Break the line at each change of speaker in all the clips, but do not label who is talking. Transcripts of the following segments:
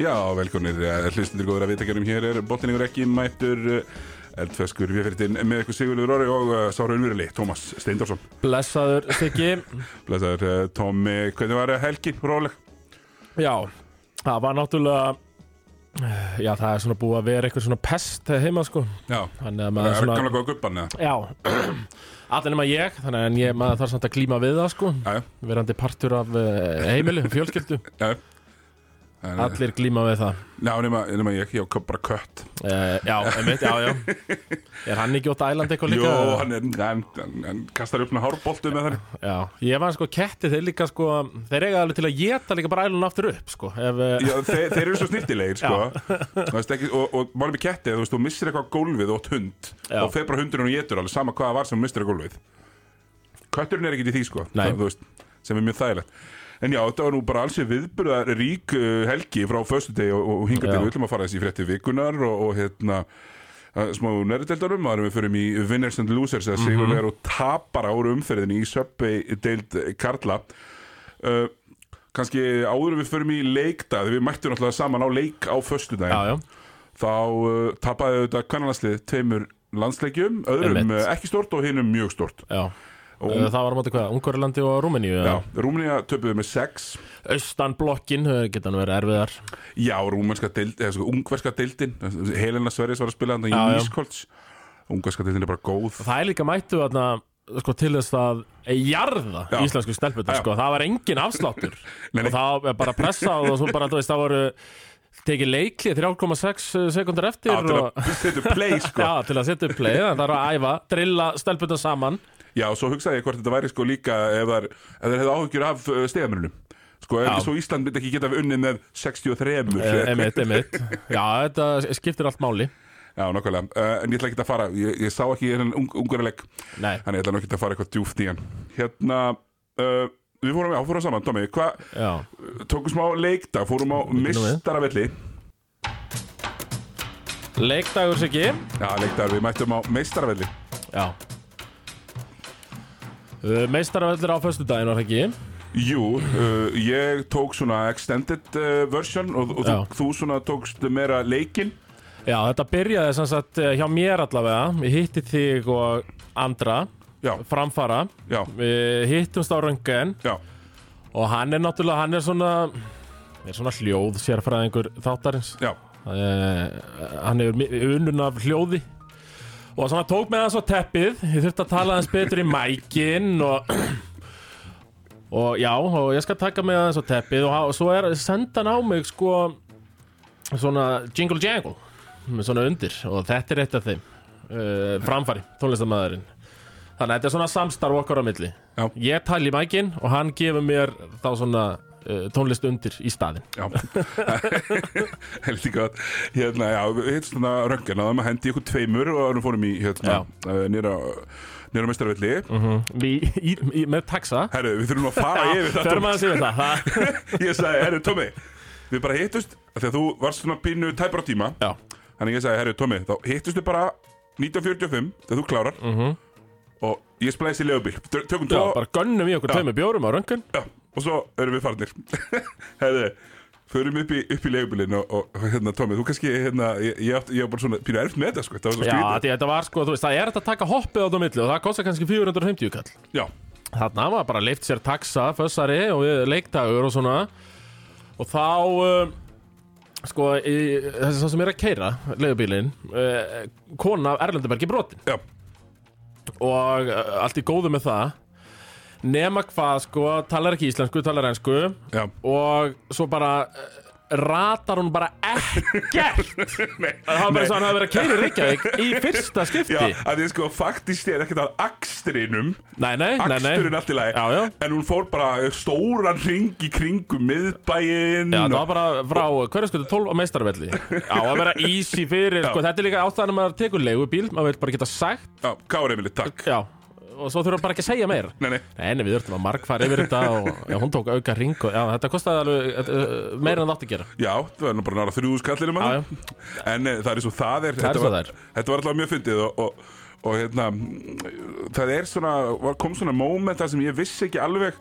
Já, velkonir, hlustundur góður að viðtækjarum hér er botningur ekki mættur eh, eldfeskur viðferðin með ykkur Sigurður Orri og eh, Sára Unverili, Tómas Steindorsson
Blessaður Siggi
Blesaður, eh, Tommi, hvernig var eh, helgin, róleg?
Já, það var náttúrulega Já, það er svona búið að vera eitthvað svona pest heima sko
Já,
Þannig að maður
það er
svona
kannlega góða guppan eða?
Já, allir nema ég Þannig að ég, maður þarf samt að glíma við það sko
Já, já,
Verandi partur af eh, heimilu, fjölskyldu
já, já En, eh,
Allir glíma við það
Já, nema, nema ég, ég á bara kött
Uh, já, einmitt, já, já Er hann ekki ótt ælandi eitthvað
Jó,
líka?
hann, er, hann, hann, hann kastar upp með hárboltu með þannig
Já, ég var sko ketti þeir líka sko Þeir eiga alveg til að geta líka bara ælun aftur upp sko ef, eh,
Já, þeir, þeir eru svo snirtilegir sko. Þú veist, ekki, og, og málum við ketti þú, veist, þú missir eitthvað á gólfið og hund
Já.
og fer bara hundurinn og getur alveg sama hvað það var sem þú missir á gólfið kötturinn er ekkit í því sko,
Nei.
það, þú veist, sem er mjög þægilegt en já, þetta var nú bara alls viðburðar rík uh, helgi frá föstudegi og, og hinga til
Já.
við ætlum að fara þessi frétti vikunar og, og hérna að smá nærdeldarum, þar erum við fyrir í Winners and Losers
Mhm.
að sigurlegar og tapar ára umferðinni í Subway deild Karla uh, kannski áður en við förum í leikdag þegar við mættum náttúrulega saman á leik á föstudaginn
Já, já,
þá uh, tapaði auðvitað kvennanlandslið tveimur landsleikjum, öðrum
Einmitt.
uh, ekki stort og hinum mjög stort
já
og,
Eh, Það var á móti hvað, Ungverlandi og Rúmeníu
já, Rúmenía töpuðu með sex
Austanblokkin, eh, geta hann verið erfiðar
já, rúmenska deild, eða sko ungverska deildin Helena Sverris var að spila þannig
Já,
í
já.
Ískolts ungverska deildin er bara góð
Það er líka mættu þarna sko, til þess að jarða
Já.
íslensku stelpunar
Já.
sko. það var engin afsláttur
Nei, nei.
og það var bara pressa og svo bara þú veist, það voru tekið leiklið 3,6 sekundar eh, eftir
Já, til
og,
að setja play sko
já, til að setja upp play það var að æfa, drilla stelpunar saman
Já, og svo hugsaði ég hvort þetta væri sko líka ef þær, ef þær hefði áhugjur af uh, stegamörunum Sko, ef
Já.
svo Ísland myndi ekki geta unnið með 63
Eh, einmitt, einmitt já, þetta skiptir allt máli
Já, nokkulega, uh, en ég ætla ekki að fara Ég, ég sá ekki hennan ung, ungurileg
nei,
Þannig ég ætla nú ekki að fara eitthvað djúft í hann Hérna, uh, við fórum á, fórum saman, Tommy Hvað,
já,
tókum smá leikdag, fórum á
við.
mistaravelli
leikdagur sig ekki
Já, leikdagur, við mættum á meistaravelli
já meistarveldur Eh, á föstudaginn var það ekki
Jú, uh, ég tók svona extended uh, version og, og þú,
Já.
þú svona tókst meira leikinn
Já, þetta byrjaði sem sagt eh, hjá mér allavega Ég hitti þig og andra
Já,
framfara
já,
Við hittumst á röngan
já
og hann er náttúrulega, hann er svona er svona hljóð sérfræðingur þáttarins
Já,
uh, Hann hefur mi- unun af hljóði og svona tók með hans á teppið Ég þurfti að tala hans betur í mækin og og já, og ég skal taka með hans á teppið og, og svo er senda hann á mig sko svona jingle jangle með svona undir og þetta er eitt af þeim uh, framfari, tónlistamæðurinn þannig að þetta er svona samstarf okkar á milli
Já.
ég tali í mækin og hann gefur mér þá svona uh, tónlist undir í staðin
já Heldi gott Hérna, já, við hittum svona röngina Það maður hendi ykkur tveimur og við fórum í hérna, eh, nýra, nýra mestarvelli
Mhm. í, í, í, með taxa
Herru, við þurfum að fara yfir þetta
förum aðeins yfir það það-
Ég sagði, herru, Tommi Við bara hittust, af því að þú varst svona pínu tæpar á tíma
já,
Þannig ég sagði, herru, Tommi, þá hittust við bara 1945, þegar þú klárar Og ég spilaði þessi legubíl Tökum
Mhm.
tvo
já, bara gönnum í okkur tveimur bjórum á röngun
Já, og svo erum við farnir Hefði, förum upp í, upp í leigubilin og, og hérna, Tómi, þú kannski hérna, ég, ég, átti- ég var bara svona pínu erft með þetta sko, það var svo
já,
skrítið
því þetta var sko, þú veist, það er þetta að taka hoppið á það milli og það kostar kannski 450 kall
Já,
þarna var bara leift sér taxa, fössari og við leikdagur og svona og þá um, sko, í, þessi sá sem er að keira leigubílinn, uh, kona af Erlendabergi brotin
já,
og uh, allt í góðu með það nema hvað sko, talar ekki íslensku, talar ensku
já
og svo bara uh, ratar hún bara ekkert
Nei,
það var bara
nei.
svo hann hafi verið að keira í Reykjavík í fyrsta skipti
Já, að því sko, faktist ég er ekkert að akstrinum
nei, nei, nei, nei
Aksturinn allt í lagi
Já, já.
En hún fór bara stóran ring í kringum miðbæinn
Já, það var
og,
bara frá hverjasköldu 12 á meistarvelli Á að vera easy fyrir sko, Þetta er líka ástæðan að maður tekur leigubíl Maður vil bara geta sagt
já, Kári Emilið, takk
Já, og svo þurfum bara ekki að segja meir
Nei, nei,
Nei, nei, við þurftum að markfara yfir þetta og já, hún tók auka ring og já, þetta kostaði alveg uh, meira en það átti að gera.
já, það var nú bara nára þrjúðu skallinum
Já, já.
En eh, það er svo það er þetta
svo
var-
það er.
Þetta var alltaf mjög fyndið og, og, og hérna mm, það er svona var, kom svona moment þar sem ég vissi ekki alveg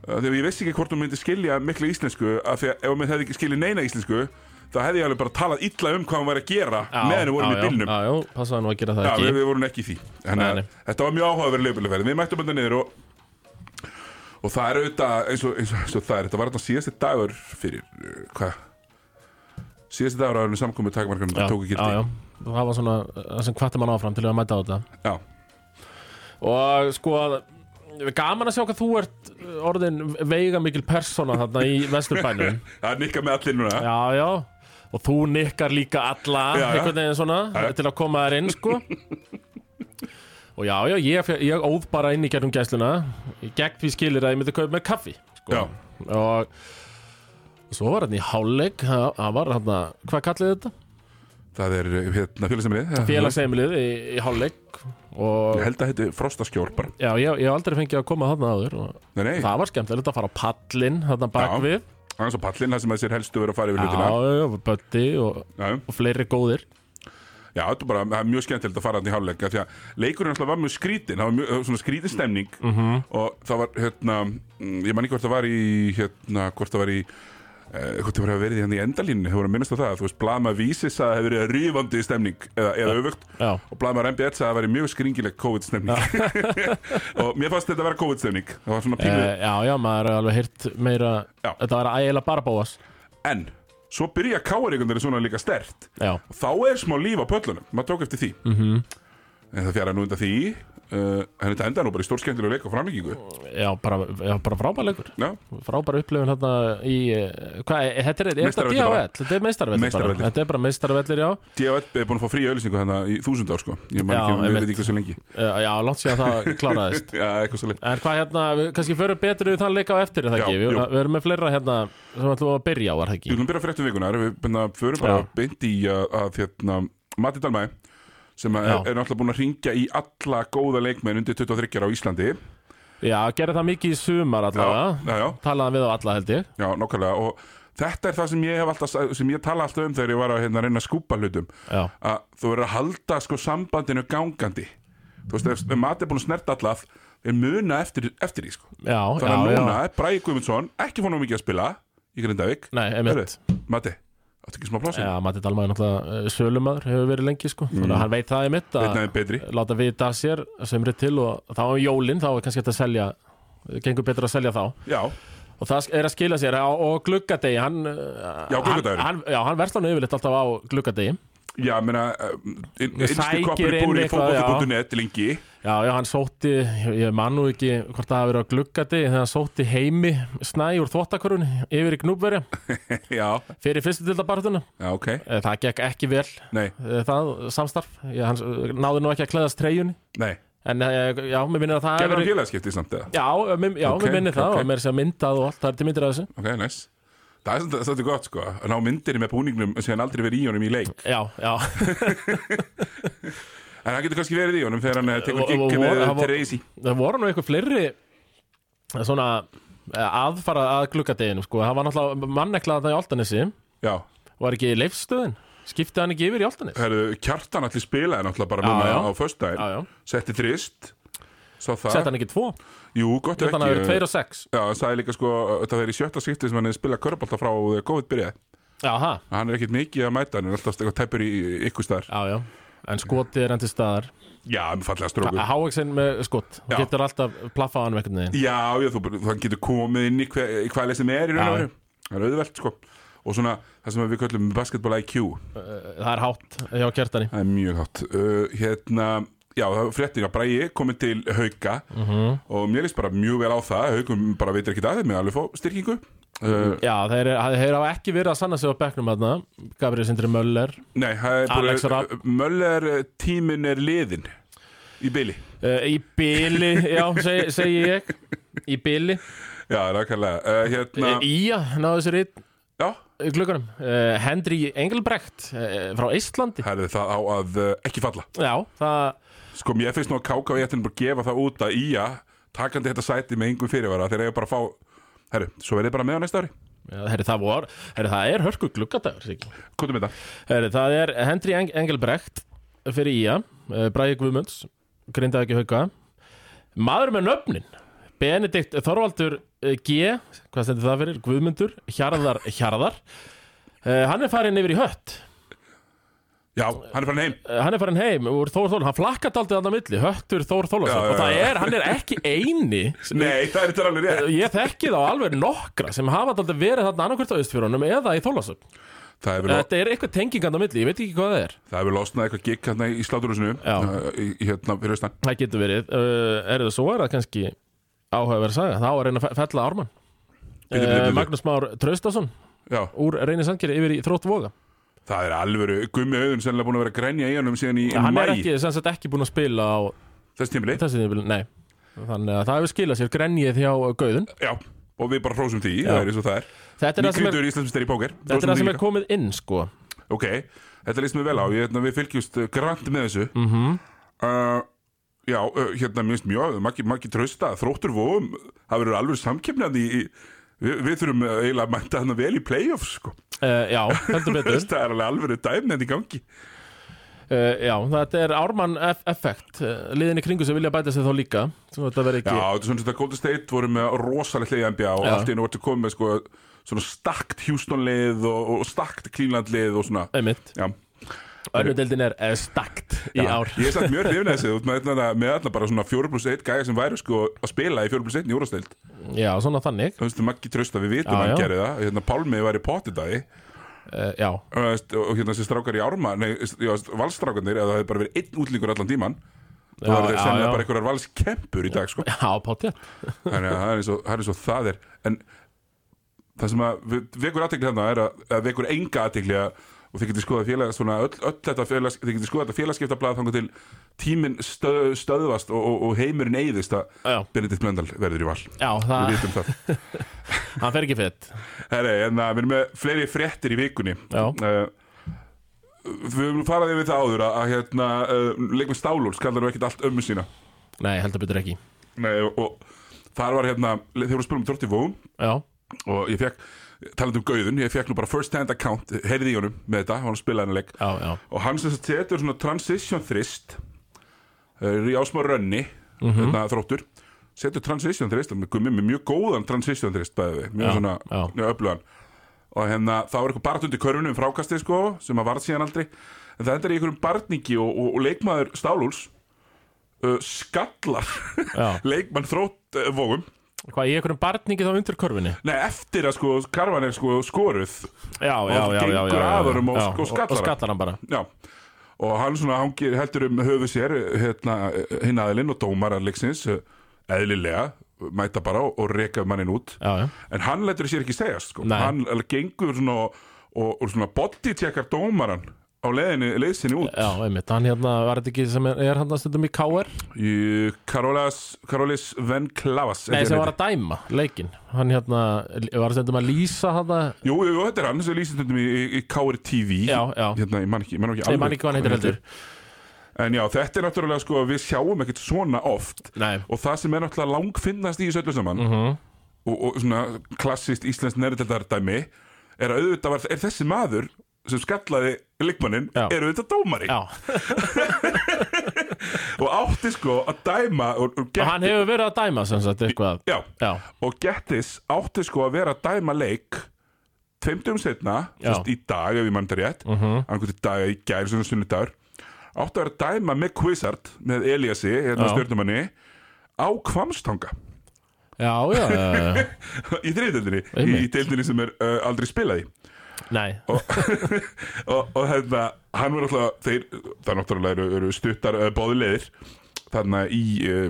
Uh, Þegar ég veist ekki hvort hún myndi skilja miklu íslensku af því að ef hún hefði ekki skilja neina íslensku þá hefði ég alveg bara talað illa um hvað hún væri að gera meðan við vorum í bylnum
Já, já, passaði nú að gera það
Já, við,
ekki
við vorum ekki í því Þannig
Nei,
að
nei.
þetta var mjög áhugaverð leifbílaferð Við mættum þetta niður og og það er auðvitað eins og, eins og, eins og það er þetta var þetta síðasti dagur fyrir uh, hvað síðasti dagur að við samkomið takmarkanum
Já,
tóku gildi
já, já. Það var svona, það sem hvatti mann áfram til að mæta á þetta
Já.
Og sko, gaman að sjá hvað þú ert uh, orðin veigamikil persóna þarna í vesturbænum
það er nikka með allir núna
Já, já Og þú nikkar líka alla
Já, já.
einhvern veginn svona
já.
til að koma þær inn sko Og já, já, ég, fe- ég óð bara inn í gegnum gæsluna í gegn því skilir að ég myndi kaupa með kaffi sko.
Já.
Og svo var hann í hálfleik það það var hann hvað kallið þetta?
Mhm. það er uh, hérna félagsæmrið
Félagsheimilið í, í hálfleik Og
ég held að þetta frostaskjól bara
já, ég, ég hef aldrei fengið að koma þarna áður og
Nei, nei,
það var skemmtilegt að fara á pallin þarna bak
Já.
við
aðeins á pallin það sem að sér helstu verið að fara yfir
Já,
hlutina
já, já, Bötti og,
Já,
og fleiri góðir
já, þetta er bara það er mjög skemmtilegt að fara hann í hálfleika því að leikurinn alltaf var mjög skrítin það var mjög, svona skrítin stemning -hmm. og það var, hérna mm, ég man ekki hvort það var í hérna, hvort það var í eh, hvort það var að verið hérna í endalínu það voru að minnast á það, þú veist, Blama Vísis að það hefur verið rífandi stemning eða, eða öfugt
Já,
og Blama MBS að það væri mjög skringileg COVID-stemning og mér fannst þetta að vera COVID-stemning það var svona
e,
pílu,
já, já, maður er alveg hýrt meira
Já.
Þetta var ægilega bara bóas
en svo byrja káar einhvern veginn svona líka stert
Já,
og þá er smá líf á pöllunum, maður tók eftir því
Mhm.
en það fjara nú undan því uh, en þetta enda nú bara í stórskemmtilegu leik og framlíkingu
já, bara, já, bara frábæleikur
Já,
Frábæra upplifun hérna í eh, Hvað, er- þetta er, er þetta
Meistaravellir
DHL?
bara.
Þetta er meistarvellir bara
Meistaravellir.
Þetta er bara meistarvellir, já
D.O.L. er búin að fá frí auðlýsingu þannig í þúsund ár sko ég man
Já,
ekki, ég
einmitt.
veit ekki hversu lengi
Eh, Já, langt síðan það kláraðist
Já, eitthvað svo leik
En hvað hérna, við kannski förum betur við þann leika á eftir, er
Já,
það ekki? Við,
jú.
við erum með fleira hérna sem ætlum að byrja á, var það
Við
ekki?
viljum byrja fréttum vikunar, við byrna, förum bara
Já.
beint í að, að hérna, Matti Dalmæ sem að
Já.
er, er náttúrulega búin að ringja í alla góða leikmenn undir 23 ára á Íslandi
Já, gerði það mikið í sumar allavega
já, já,
Talaðan við á alla held ég
já, nokkulega og þetta er það sem ég hef alltaf sa- sem ég tala alltaf um þegar ég var að hérna, reyna að skúpa hlutum
Já,
að þú verður að halda sko sambandinu gangandi þú veist, ef, ef maður er búin að snerta allaf er muna eftir, eftir því sko
já,
þannig að
já,
núna,
já.
já. Bragi Guðmundsson ekki fór nú mikið að spila í Grindavík
Nei, emitt
Heyrðu, Matti, áttu ekki smá hérna? plásin?
Já, Matti Dalma er náttúrulega eh, sölumæður hefur verið lengi sko, þannig að hann veit það emitt að
Einn aðeins betri
láta vita af sér sömrið til og þá um jólin þá er kannski hægt að selja gengur betur að selja þá
Já,
og það er að skila sér á, og gluggadegi hann, já,
gluggadagurinn.
hann, já, hann verslar nú yfirleitt alltaf á gluggadegi
já, meina um, inn- innstu
sækir
koppur
inn
búið í
eitthvað, já.
fótbolti.net lengi
já, já, hann sótti, ég, ég man nú ekki hvort það hafi verið á gluggadegi, þegar hann sótti heimi snæ úr þvottakörun yfir í knúbverja
Já,
fyrir fyrstu dildabartuna
já, ok,
það gekk ekki vel
nei,
eh, það samstarf, ég, hann eh, náði nú ekki að klæðast treyjunni
nei
En eh, já, mér minnir að það hafi
Gerður hann
verið-
félagskipti samt eða?
Já, eh, mér, já,
Ok,
mér minnir það
ok.
og mér er sér myndað og allt, það er til myndir af þessu
Ok, næs Það er svolítið- svolítið gott sko að ná myndirinn með búningnum sem hann aldrei verið í honum í leik
Já, já,
En hann getur kannski verið í honum þegar hann eh, tekur
Og- og-
gigg
og-
með
hann var-
Teresi
það voru nú eitthvað fleiri eh, svona eh, aðfara að gluggadeginu sko, það var náttúrulega manneklað það í Altanesi
Já,
var ekki í leifstöðin, skipti hann ekki yfir í Altanes
herðu, kjartan allir spilaði náttúrulega bara
Já,
núna
já.
á föstudaginn
Já, já.
Setti þrist Sá það
Sett hann ekki tvo,
Jú, gott ef
þannig að það eru
ekki
tveir og sex
Já, hann sagði líka sko Það er í sjötta skipti sem hann er spilað körbólta frá þegar COVID byrjaði
Já, ha,
Hann er ekkit mikið að mæta Hann er alltaf eitthvað tæpur í í ykkur staðar
já, já En skotið er enn til staðar
Já, með fallega strókur
Háeksin með skot,
Já.
þú getur alltaf plaffað hann með einhvern veginn
Já, já, þú bara- hann getur komið inn í hver, í hvað leið sem er í raun og
Já.
veru Það er auðvelt sko Og svona það sem við köllum basketball IQ
Eh, Það er hátt hjá kjartani
Það er mjög hátt uh, Hérna, já, það var fréttir að Bræi komið til Hauka og mér líst bara mjög vel á það Haukum bara veitir ekkit að þeim með alveg fó styrkingu uh,
Já, þeir, eru- þeir hafa ekki verið að sanna sig á bekknum þarna Gabriel Sindri Möller
Nei, það er
Alex
bara
Rapp.
Möller eh, tíminn er liðin í byli
uh, Í byli, já, seg, segi ég Í byli
Já, nákvæmlega uh, Hérna,
uh, Ía, náðu sér einn
já,
í klukkanum uh, Henry Engelbrekt uh, frá Íslandi
það er það á að uh, ekki falla
Já, það
Sko, mér finnst nú að káka og ég ætlum bara að gefa það út að Ía takandi þetta sæti með engum fyrirvara þegar ég bara að fá, herru, svo verðið bara með á næsta ári
Já, herri, það, vor, herri, það er hörku glukkadagur Siggi.
Kvotum þetta
herri, Það er Henry Eng Engelbrekt eh, fyrir Ía, uh, Bræði Guðmunds Grindaði ekki hauka Maður með nöfnin Benedikt Þorvaldur eh, G hvað stendur það fyrir, Guðmundur Hjarðar Hjarðar uh, hann er farin yfir í hött
Já, hann er farin heim
Eh, hann er farin heim úr Þór Þólasson hann flakkaði aldrei þannig að milli, höttur Þór Þólasson
Já, já,
og það
já.
er, hann er ekki eini
Nei, það er þetta alveg rétt
ég þekki þá alveg nokkra sem hafa aldrei verið þarna annarkvært á Ístfjörunum eða í Þólasson
Það hefur lo-
þetta er eitthvað tengingan á milli, ég veit ekki hvað það er
það hefur losnað eitthvað gikk hérna í sláturhúsinu
Já.
uh, í- í hérna fyrir austan
það getur verið, uh, er það svo er það kannski áhugaverð saga, þá er reyna að fe- fella ármann
Bíddu, bíddu,
uh,
bíddu.
Magnús Már Traustason
Já,
úr reyni sandkeri yfir í þrótt voga
það er alvöru Gummi auðun sennilega búin að vera að grænja í honum síðan í
hann er
mæ
ekki, sem sagt, ekki búin að spila á
Þess tímili
þessi tímabili, nei þannig að það hefur skilað sér grenjið hjá Gauðun
Já, og við bara hrósum því Það er eins og það er
þetta er það sem er,
Nýkvítur Íslandsmyndstari í póker
þetta er,
Hrósum
það
því
sem
líka.
er komið inn sko.
Ok, þetta líst mér vel á ég, hérna, Við fylgjumst uh, grant með þessu mm
Mhm.
-hmm. uh, Já, uh, hérna minnst mjög Maggi, Maggi trausta, þróttur vóum Það verður alveg samkeppnað í, í við, við þurfum uh, eiginlega að mæta hann vel í playoffs sko.
uh, já, heldur
Það
betur
er alveg alveg dæmnend í gangi
uh, já, þetta er Ármann F effekt uh, liðin í kringu sem vilja bæta sig þá líka svo þetta verður
Já,
ekki
þetta er svona þetta Golden State voru með rosalegt leið í NBA og
Já.
allt í einu vartu komið með sko, svona stakt Houston leið og, og stakt Cleveland leið og svona
einmitt,
Já,
önnudeldin er uh, stakt í
Já.
ár
Ég er samt mjög hrifin að þessu út með þarna- með þarna bara svona 4 plus 1 gæja sem væri sko að spila í 4 plus 1 í úrasteild
já, svona þannig
Þú veist, Maggi trösta, við vitum
Já,
að hann
já.
gerir það Hérna, Pálmi var í potið það
uh, já,
og hérna þessi strákar í Árma Nei, já, valstrákarnir, eða það hefði bara verið einn útlingur allan tíman Þá
Já,
var
já,
þetta sennilega
já.
bara einhverjar valskempur í dag, sko
já, pátjætt
Þannig að það er eins og það er, eins og það er. En það sem að við- vekur aðtekli þarna er að, að vekur enga aðtekli að og þið getur skoðað félags svona öll, öll þetta félags, þið getur skoðað þetta félagskiptablaða þangar til tíminn stöð, stöðvast og, og, og heimurinn eyðist að
Já.
Benedikt Blöndal verður í val
já,
við
það,
vitum það
hann fer ekki fett
Herri, en að við erum með fleiri fréttir í vikunni
Já.
uh, Við erum faraðið við það áður að, að hérna, uh, leikmið Stálúls kallar nú ekkert allt ömmu sína
nei, heldur betur ekki
Nei, og, og þar var hérna, þeir voru að spila um Þrótti Vóum
já,
og ég fekk, talandi um gauðun ég fekk nú bara first hand account, heyrði í honum með þetta, hann spilaði hennar leik
já, já
og hann sem sagt setur svona transition thrist uh, á smá rönni
Mhm.
mm -hmm. þróttur setur transition thrist, hann er gummi með mjög góðan transition thrist bæði við, mjög
Já,
svona
já.
mjög öflugan og hérna það var eitthvað barð undir körfunum frákastið sko, sem að varð síðan aldrei en það endur í einhverjum barningi og, og, og leikmaður Stálúls uh, skallar
Já.
leikmann þrótt uh, vóum
Hvað, í einhverjum barningi þá undir körfinni?
Nei, eftir að sko karvan er sko skoruð
Já, já,
Og
já, já, já,
gengur
já,
að honum og-
já,
og skallar
Og
hann.
skallar hann bara
Já, og hann svona hangir heldur um höfu sér hérna hinn aðilinn og dómaran leiksins eh, eðlilega, mæta bara og, og reka mannin út,
Já, já,
en hann lætur sér ekki segjast, sko,
Nei.
hann alveg gengur svona og, og, og svona bodycheckar dómaran á leiðinni, leiðsinni út
já, einmitt Hann hérna, var þetta ekki sem er, er hann að stundum í KR?
í Karolas, Karolis Van Klavas
Nei,
ekki
sem
hann
var
heitir.
að dæma leikin Hann hérna, var stundum að lýsa hann að
Jú, jú, jú, þetta er hann sem lýsir stundum í, í, í KR TV
Já, já.
Hérna, ég man ekki, ég man ekki
Nei,
alveg
mann ekki hvað hann heitir heldur
En já, þetta er náttúrulega sko, við sjáum ekkert svona oft
Nei, Mhm.
og það sem er náttúrulega langfinnast í þessu öllu saman og, og svona klassist íslenskt nerdildardæmi er að auðvitað var, er þessi maður sem skallaði líkmannin
Já.
er auðvitað dómari
já,
og átti sko að dæma og, og
og
get,
hann hefur verið að dæma sem sagt eitthvað
já,
Já,
og gettis átti sko að vera að dæma leik tveimtum setna
Já. Mhm.
sérst, í dag ef ég mann þetta rétt uh -huh. annað dag í gæri svona sunnudagur átti að vera að dæma með Quizard með Eliassi, hérna
Já.
stjórnumanni á Kvamstanga
já, já, já, já.
í þriðdeldinni, í,
Einmitt.
í deildinni sem er uh, aldrei spilaði
Nei,
og, og hérna, hann var alltaf þeir, það náttúrulega eru, eru stuttar uh, bóðilegir þarna í uh,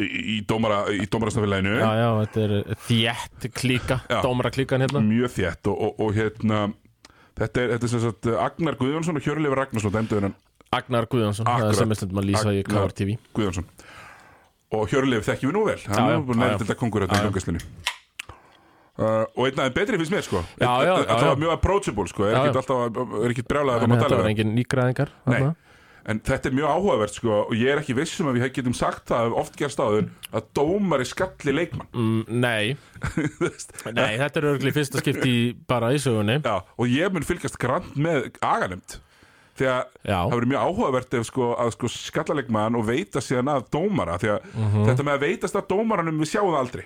í, í dómara í dómarastafélaginu
já, já, þetta er þjætt klíka,
Já.
dómara klíkan hérna
mjög þétt og, og, og hérna þetta er, þetta er sem sagt uh, Agnar Guðjónsson og Hjörleifur Ragnarsson dæmduður hann
Agnar Guðjónsson, það
Akkurat.
er sem er stundum að lýsa í
Agnar
KR TV
Guðjónsson og Hjörleif þekkjum við nú vel hann
Já, já,
er búin
já,
að
já.
nefnda þetta kongur þetta í langaslinu Uh, og einn aðeins betri finnst mér sko
Já, já, já,
Það
já.
var mjög approachable sko Er
Já, já.
ekkert alltaf, er ekkert brjálega að
En
koma að
þetta
tala
var
við
engin nýgræðingar
Nei,
þarna.
en þetta er mjög áhugavert sko og ég er ekki vissum að við getum sagt það oft gerst áður að dómari skalli leikmann
Mm, Nei,
Þú veist.
Nei, þetta er örgli fyrsta skipti í- bara í sögunni
Já, og ég mun fylgjast grann með aganemt því að
Já.
það verið mjög áhugavert ef sko, að sko skallalegmann og veita síðan að dómara því að
Mhm.
þetta með að veitast að dómaranum við sjáum það aldrei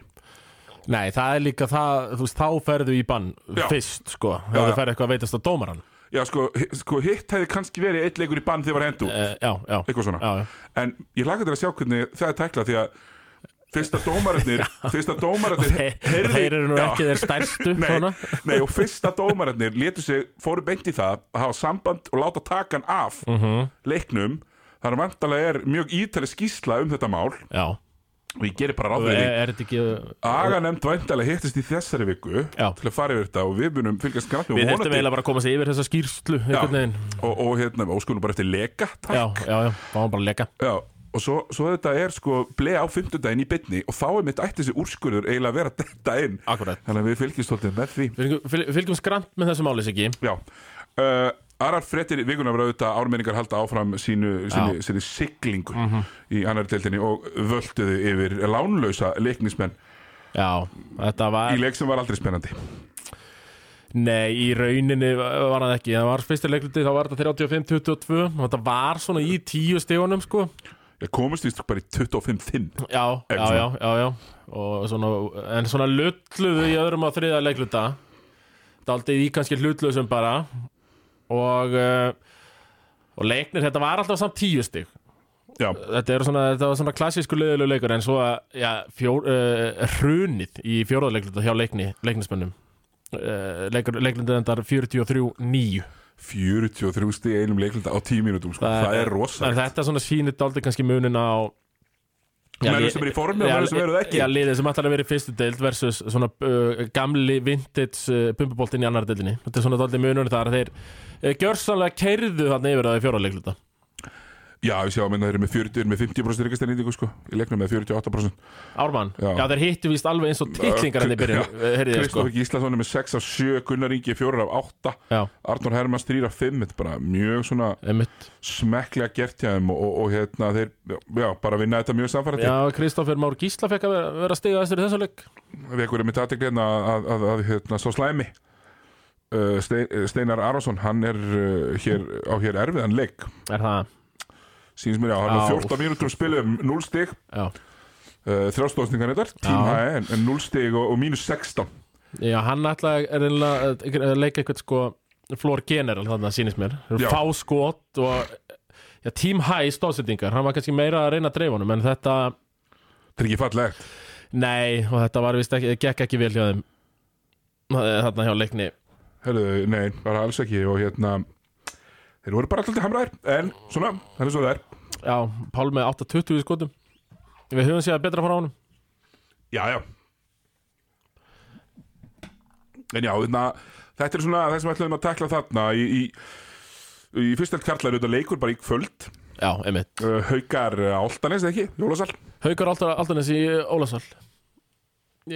Nei, það er líka það, þú veist, þá ferðu í bann
Já.
fyrst, sko, ef
Já,
þú
já.
ferð eitthvað að veitast að dómaran
Já, sko, hi- sko hitt hefði kannski verið eitt leikur í bann þegar var hendu
e, Já, já
Eh, eitthvað svona
Já, já.
en ég laka til að sjá hvernig það er tekla því að fyrst að dómararnir fyrst að dómararnir
Þeir, þeir eru nú
Já.
ekki þeir stærstu
nei,
svona.
nei, og fyrsta dómararnir létu sig, fóru beint í það að hafa samband og láta takan af
Mhm.
leiknum þar að vantarlega er mjög ítali skýsla um þetta mál
Já,
og ég gerir bara ráð
er,
fyrir því
er þetta ekki eh,
Ah, Aganemnd væntalega hittist í þessari viku
Já.
til að fara yfir þetta og við munum fylgjast knappi
Við þurftum eiginlega bara að komast yfir þessa skýrslu einhvern veginn
og, og hérna, og skulum bara eftir leka takk.
Já, já, já, fáum bara að leka
Já, og svo, svo þetta er sko bleið á fimmtudaginn í bytni og þá er mitt ætti þessi úrskurður eiginlega að vera þetta inn
Akkurat
Þannig að við fylgjumst svolítið með því
Fylgjum, fyl- fylgjum skrant með þessu máli, Siggi
Já, uh, aðrar frettir vikunar var auðvitað ármenningar halda áfram sínu, sínu, sínu siglingu í annari teltinni og völduðu yfir lánlausa leiknismenn
Já, þetta var
í leik sem var aldrei spennandi
Nei, í rauninni var það ekki Það var fyrstu leikluti, þá var þetta 35-22 og Þetta var svona í tíu stegunum, sko
Ég komist því bara í 25-5
Já, já,
Eitthvað
já, já, já. Og Svona, En svona lulluðu í öðrum á þriða leikluta Daldið í kannski hlutlausum bara Og eh, Og leiknir, þetta var alltaf samt tíu stig
Já,
Þetta, eru svona, þetta var svona klassísku leiðilegu leikur En svo að, já, fjór, uh, hrunið Í fjóraða leikluta hjá leikni, leiknismönnum uh, leikur, Leiklundir endar 43-9
43 stig í einum leiklunda á 10 mínútum sko. það, er rosa
En þetta svona sýnir daldið kannski munin á Já,
Menn
ég-
sem eru í formi og
Já,
menn sem eru það ekki
Já, liðið sem ætlar að vera í fyrstu deild versus svona uh, gamli vintage uh, bumbuboltinn í annar deildinni Þetta er svona daldið munur þar þeir uh, gjörsanlega keirðu þarna yfir það í fjóra leikluta
Já, við sjáum að það eru með 40, eru með 50% ríkastæningu sko, í leiknum með 48%
Ármann, já.
Já.
þeir hittu víst alveg eins og tittlingar henni byrjun, uh, heyrið ég sko
Kristoffer Gíslason er með 6 af 7, Gunnar Ingi 4 af 8
Já,
Arnór Hermanns 3 af 5 þetta er bara mjög svona
einmitt
smekklega gert hjá þeim og, og, og hérna þeir, já, bara vinna þetta mjög samfærandi
Já, Kristoffer Már Gísla fekk að vera, vera stiga þessir í þessu leik
við ekkur erum í tatikli hérna að, að, að, að hérna, svo slæmi uh, Stein, Steinar Aronsson, hann er uh, hér, á hér erfiðan leik
Er það?
síns mér já, hann er
Já.
14 mínútur spilum 0 stig,
Já,
uh, þrjástóðsningar þetta tím
Já.
hæ, en, en 0 stig og, og mínus 16
já hann ætlaði að reyna að að leika eitthvað sko Flór General þarna sýnist mér
Já.
Fá skot og já, Team High stóðsendingar, hann var kannski meira að reyna að dreifa honum en þetta
þetta er ekki fallegt
Nei, og þetta var vist ekki, gekk ekki vel hjá þeim Eh, þarna hjá leikni
Herðu, nei, bara alls ekki og hérna þeir voru bara alltaf hamraðir en svona, það er svo það er
Já, Pál með 8-20 í skotum Við höfum séð betra frá honum
já, já en já, þarna, þetta er svona það sem við ætlum að tekla þarna í, í, í fyrst held karlar auðvitað leikur bara í kvöld
Já, einmitt
uh, haukar áltanis, ekki, jólasal
Haukar Aldar- Aldarnes í Ólasvall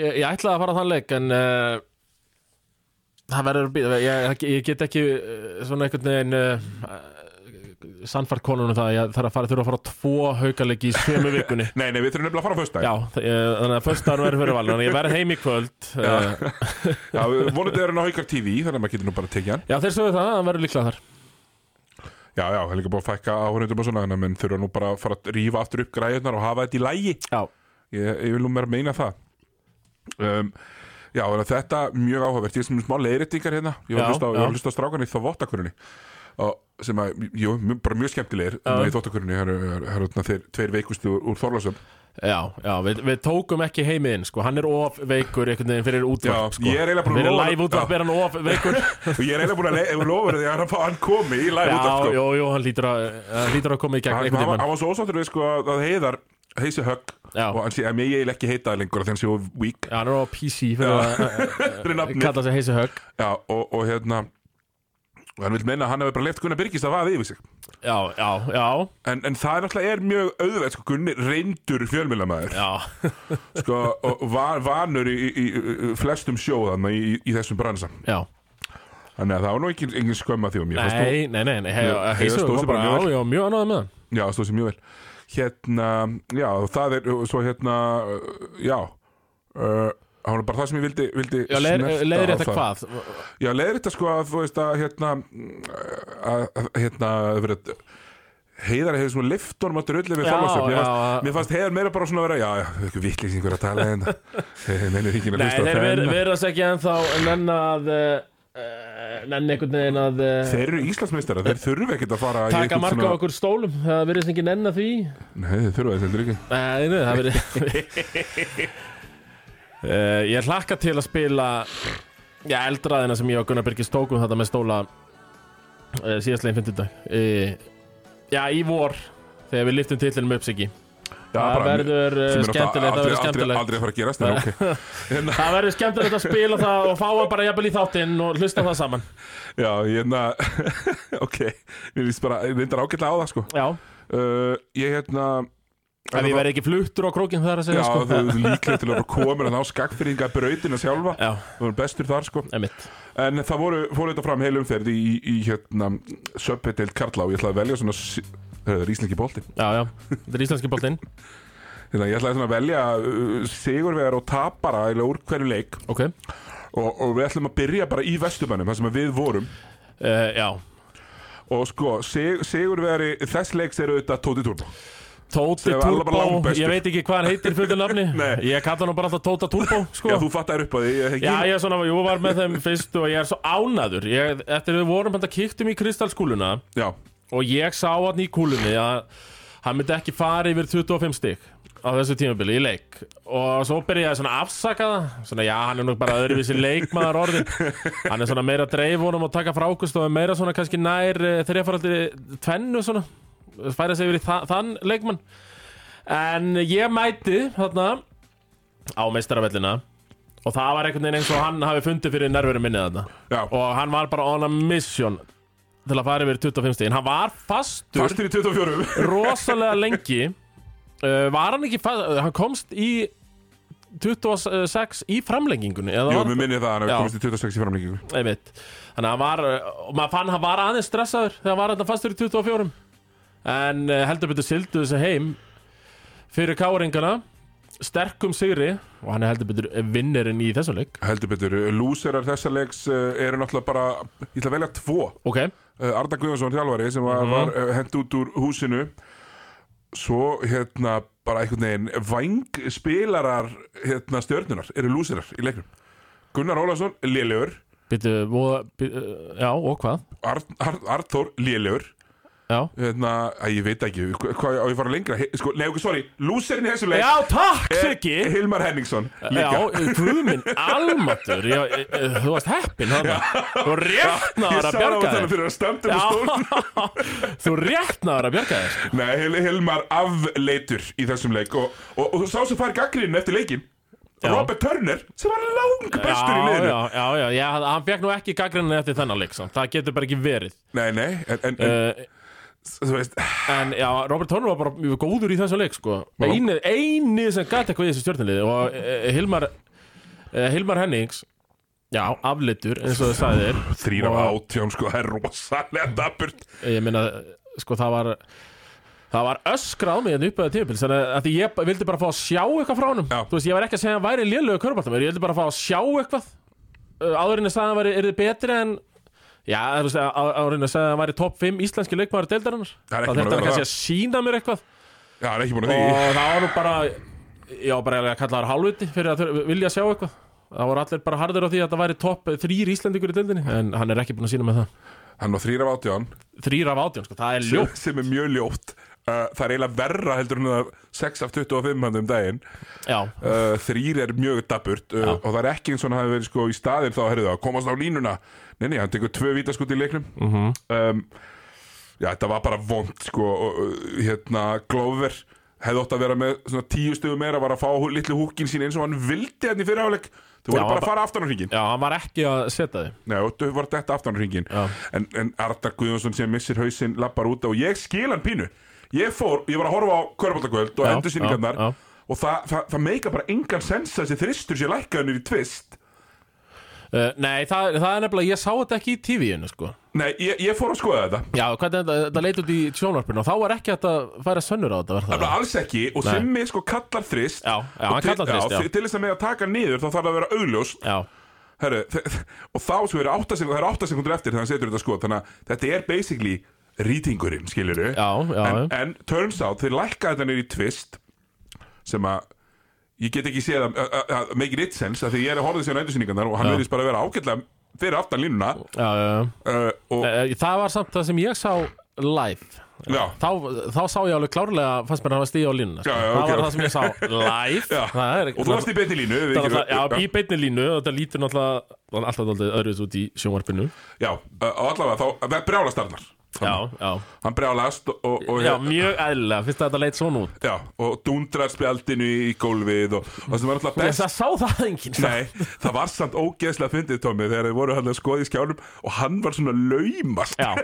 ég, ég ætlaði að fara á þann leik en uh, það verður að býta ég, ég get ekki eh, svona einhvern veginn uh, sannfært konunum það að ég þarf að fara, þurfa að fara á tvo haukarleiki í sömu vikunni
nei, nei, við þurfum nefnilega að fara á föstudaginn
Já, þ- eh, þannig að fyrst dagar verður fyrir valin Þannig að ég verð heim í kvöld Eh, Já,
já vonandi er hann á haukar TV þannig að maður getur nú bara að tekið hann
já þeir sögðu það, það verður líklega þar
já, já, það er líka búin að fækka áhörundum og svona þannig að menn þurfa nú bara að fara að rífa aftur upp græðunar og hafa þetta í lægi
Já,
ég, ég vil nú mér meina það um, Já, þannig að þetta er mjög áhugavert Ég er sem smá leiðréttingar hérna Ég var
Já,
að hlusta á- ég
já.
var að hlusta á strákan í þvottakurunni og sem að, jú, mjög- bara mjög skemmtilegir uh. í þvottakurunni, það eru- það eru þarna hérna, þeir tveir veikustu úr, úr Þorlásum
Já, já, við, við tókum ekki heimiðin sko. Hann er of veikur einhvern veginn fyrir útvarp
Já,
sko.
ég er eiginlega búin að
Fyrir
lofa-
live útvarp
Já.
er hann of veikur
og ég er eiginlega búin að le- lofa því að hann, hann komi í
Já,
live út af sko
jú, jú, hann lítur að, hann lítur að koma í gegn
Hann,
einhvern
hann, var-
veginn
hann var svo ósáttur við sko að að heiðar heisi högg
Já.
og hann sé að mér ég vil ekki heita það lengur af því hann sé of weak
Já, hann er á PC fyrir að
fyrir
eh,
nafni
kalla sig heisi högg
Já, og, og hérna og hann vil meina að hann hefur bara leift Gunnar Birgis að vaða yfir sig
Já, já, já,
En, en það er náttúrulega er mjög auðveld sko, Gunni reyndur fjölmjölamæður
já,
sko, og var, vanur í, í, í flestum sjóðan í, í þessum bransa
já
Þannig að það var nú engin, engin skömm að því og mér fannst
Nei, nei, nei, nei
Heiða
heisi
stóð
högg
sig
var bara,
bara mjög
já, já, mjög annað með hann
þú- Já, það stóð sér mjög vel Hérna, já, og það er og svo hérna, já uh, það var bara það sem ég vildi, vildi
Já, leir,
snerta
leiðir
á
þetta
það.
hvað?
Já, leiðir þetta sko að þú veist að hérna að, að hérna að vera heiðar hefði svona lift honum að drulli við
Já,
þálasöfn mér,
já,
fannst-
já.
mér fannst heiðar meira bara svona að vera já, já, ekki vittlýsingur að tala hérna. en mennur hingin að
Nei,
hlusta á
þeir ver-
þennan.
verðast ekki ennþá nenn að uh, nenn einhvern veginn að uh,
Þeir eru Íslandsmeistara, þeir þurfu ekkert að fara í
taka
einhvern
marka á
svona-
okkur stólum það verðist ekki nenn að því
Nei, þeir þurfu þess heldur ekki
Nei, nei, það verið uh, Ég hlakka til að spila Já, eldraðina sem ég og Gunnar Birgis tókum þetta með stóla uh, síðastlegin 50 dag uh, Já, í vor þegar við liftum titlinum upp Siggi
Já,
Það
bara-
verður, uh,
sem er náttúrulega
skemmtilegt, það
aldrei- aldrei-
verður skemmtilegt.
Aldrei að fara að gerast, en ok
Það verður skemmtilegt að spila það og fá hann bara jafnvel í þáttinn og hlusta á það saman
Já, hérna Ok, ég líst bara, ég reyndar ágætlega á það sko
Já,
uh, Ég hérna
ef ég verð ekki fluttur á krókinn það er að
Já,
segja sko
þú er líklega til að vera komin að ná skagfyrringa brautina sjálfa
Já,
Þú er bestur þar sko
emitt
En það voru, fóru þetta fram heil umferð í, í, í hérna Söpbeteild Karla og ég ætlaði að velja svona s- Það er íslenski bolti
Já, já, þetta er íslenski boltinn
Hérna, ég ætlaði svona að velja uh, sigurvegar og tapara Eða úr hverju leik
Ok, uh,
og, og við ætlum að byrja bara í vestumannum Það sem að við vorum
Eh, já
Og sko, sig, sigurvegari þess leiks eru auðvitað Tóti Turbo
Tóti
Sem var alveg bara
Turbo,
langbestur.
ég veit ekki hvað hann heitir fullu nafni
Nei.
Ég kalla hann bara alltaf Tóta Turbo sko.
Já, þú fattar upp á því ég,
Já, ég er svona, jú, var með þeim fyrst og ég er svo ánaður ég, Eftir við vorum hann að kíktum í kristalskúluna
já,
og ég sá hann í kúlunni að hann myndi ekki fara yfir 25 stygg á þessu tímabili í leik og svo byrjaði ég svona að afsaka það svona já, hann er nú bara öðruvísi leikmaður orðin hann er svona meira að dreif honum og taka frákust og er meira svona kannski nær þegar ég fara alltaf tvennu svona færa sig yfir í þa þann leikmann en ég mæti þarna á meistaravellina og það var einhvern veginn eins og hann hafi fundið fyrir nervurinn minni þarna
já
og hann var bara on a mission til að fara yfir 25 stíðin hann var fastur
Fastur í 24
rosalega lengi uh, var hann ekki fastur hann komst í 26 í framlengingunni eða
Jú,
var,
mér minni það að hann
Já.
hefur komist í 26 í framlíkingu
einmitt þannig að hann var uh, og maður fann hann var aðeins stressaður þegar hann var hann fastur í 24 en uh, heldur betur sildu þessu heim fyrir káringana sterkum sigri og hann er heldur betur vinnerinn í þessum leik
Heldur betur, lúserar þessa leiks uh, eru náttúrulega bara, ég ætla að velja tvo uh,
ok
Arda Guðjónsson þjálfari sem
Mhm.
var, var uh, hent út úr húsinu Svo hérna bara einhvern veginn vangspilarar hérna stjörnunar eru lúserar í leiknum Gunnar Ólafsson, lélegur
Býtu, voða, býtu, eh, já og hvað
Arn- Arn- Arnþór, lélegur
já
Hérna, að ég veit ekki, hva- hvað á ég að fara lengra He, sko, Nei, ok, sorry, lúserinn í þessu leik
Já, takk
er
Siggi
Hilmar Henningsson líka
Já, guðminn, almatur já, e, e, Þú varst heppin hana Þú
Ég
réttnaður að
sá það á
bjarga
þennan
þér
fyrir að stemta um stól
Já, þú réttnaður að bjarga þér sko.
Nei, Hil Hilmar afleitur í þessum leik og, og, og þú sá sem fær gaggrinni eftir leikin
Já.
Robert Turner sem var lang bestur í
Já,
liðinu
já, já, já, já, hann fekk nú ekki gaggrinni eftir þennan leik samt. Það getur bara ekki verið
Nei, nei, en, en, en
uh,
þú veist
En já, Robert Turner var bara mjög góður í þessu leik sko. eini, eini sem gæti eitthvað í þessu stjórnliði Og uh, Hilmar uh, Hilmar Hennings Já, aflitur, eins og þið sagðir
Þrýr af
Og-
átján, sko, það er rosalega dapurt
ég meina, sko það var það var öskrað á mig en uppeða tímabil þannig að því ég vildi bara fá að sjá eitthvað frá honum
Já.
þú veist, ég var ekki að segja að hann væri lélögu körbáltamöður ég vildi bara fá að sjá eitthvað Uh, áður en að sagði að hann væri, er þið betri en já, þú veist, á- áður en að sagði að hann væri topp 5 íslenski leikmaður deildarinnar þá
Það er ekki búin að
þurfti hann
vera
kannski að sína mér eitthvað
Já, hann er ekki búin að því
og það var nú bara já, bara eiginlega að kalla þar halvviti fyrir að þur- vilja sjá eitthvað það voru allir bara harður á því að það væri topp þrýr íslendingur í deildinni en hann er ekki búin að sína með það
Hann var þrýr af átján
þrýr af átján, sko, það er
sem,
ljótt
sem er mjög ljótt uh, Það er eiginlega verra heldur en að 6 af 25 hann um daginn
Já,
uh, Þrýr er mjög dapurt uh, og það er ekki eins og hann hafi verið sko í staðin þá herrðu það, komast á línuna Nei, nei, hann tekur tvö vítaskot í leiknum
Mhm.
-hmm. um, Já, þetta var bara vond sko, og, uh, hérna, Glover hefði ótt að vera með svona tíu stöðu meira var að fá hú- litlu húkin sín eins og hann vildi hann í fyrirháleik Þau voru
Já,
bara
hann
að fara aftan á hringin
já, hann var ekki að setja þig
Nei, og þau voru þetta aftan á hringin
Já.
en, en Arda Guðjónsson sem missir hausinn lappar út og ég skil hann pínu Ég fór, ég var að horfa á Körbáldagöld og
Já,
endur síningarnar
já, já.
og það, það, það meika bara engan sens að þessi þristur sé lækkaðunir í tvist
Uh, nei, það, það er nefnilega, ég sá þetta ekki í TV-inu sko.
Nei, ég, ég fór að skoða þetta
Já, hvernig þetta, þetta leit út í sjónvarpinu og þá var ekki hægt að færa sönnur á þetta var það
Nefnilega alls ekki og
Nei.
Simmi sko kallar þrist
Já, já,
Og
hann
til-
kallar þrist, já.
til- Til þess að með að taka hann niður þá þarf það að vera augljóst
Já,
Herru, þe- þe- Og þá sko eru 8 sekundur, er 8 sekundur eftir þannig að hann setur þetta sko Þannig að þetta er basically rýtingurinn, skilur við
já, já,
en, en turns out, þeir lækka þetta niður í twist Sem að Ég get ekki séð að, að, að, að make it sense af Því ég er að horfði sér á endursýningarnar og hann
Já.
verðist bara að vera ágætlega fyrir aftan línuna
já, já, já.
uh, Og
Eh, Það var samt það sem ég sá live
já,
Þá, þá sá ég alveg klárlega fannst mér að hann var stíð á línuna sko.
Já, já,
Það
ok,
var
ok.
það sem ég sá live
já.
Það er,
Og þú varst í beinni línu við
Það
ekki-
var það, já, í beinni línu og þetta lítur náttúrulega það er alltaf náttúrulega öðruðs út í sjónvarpinu
Já, uh, og allavega þá brjálast Arnar
Já, já,
Hann brjálast og, og, og,
já, mjög eðlilega fyrst að þetta leit svona út
já, og dundrar spjaldinu í gólfið og, og sem var alltaf
Ég,
best
Það sá það enginn sko.
Nei, það var samt ógeðslega fyndið Tommi þegar þeir voru hann að skoða í skjánum og hann var svona laumast
Já,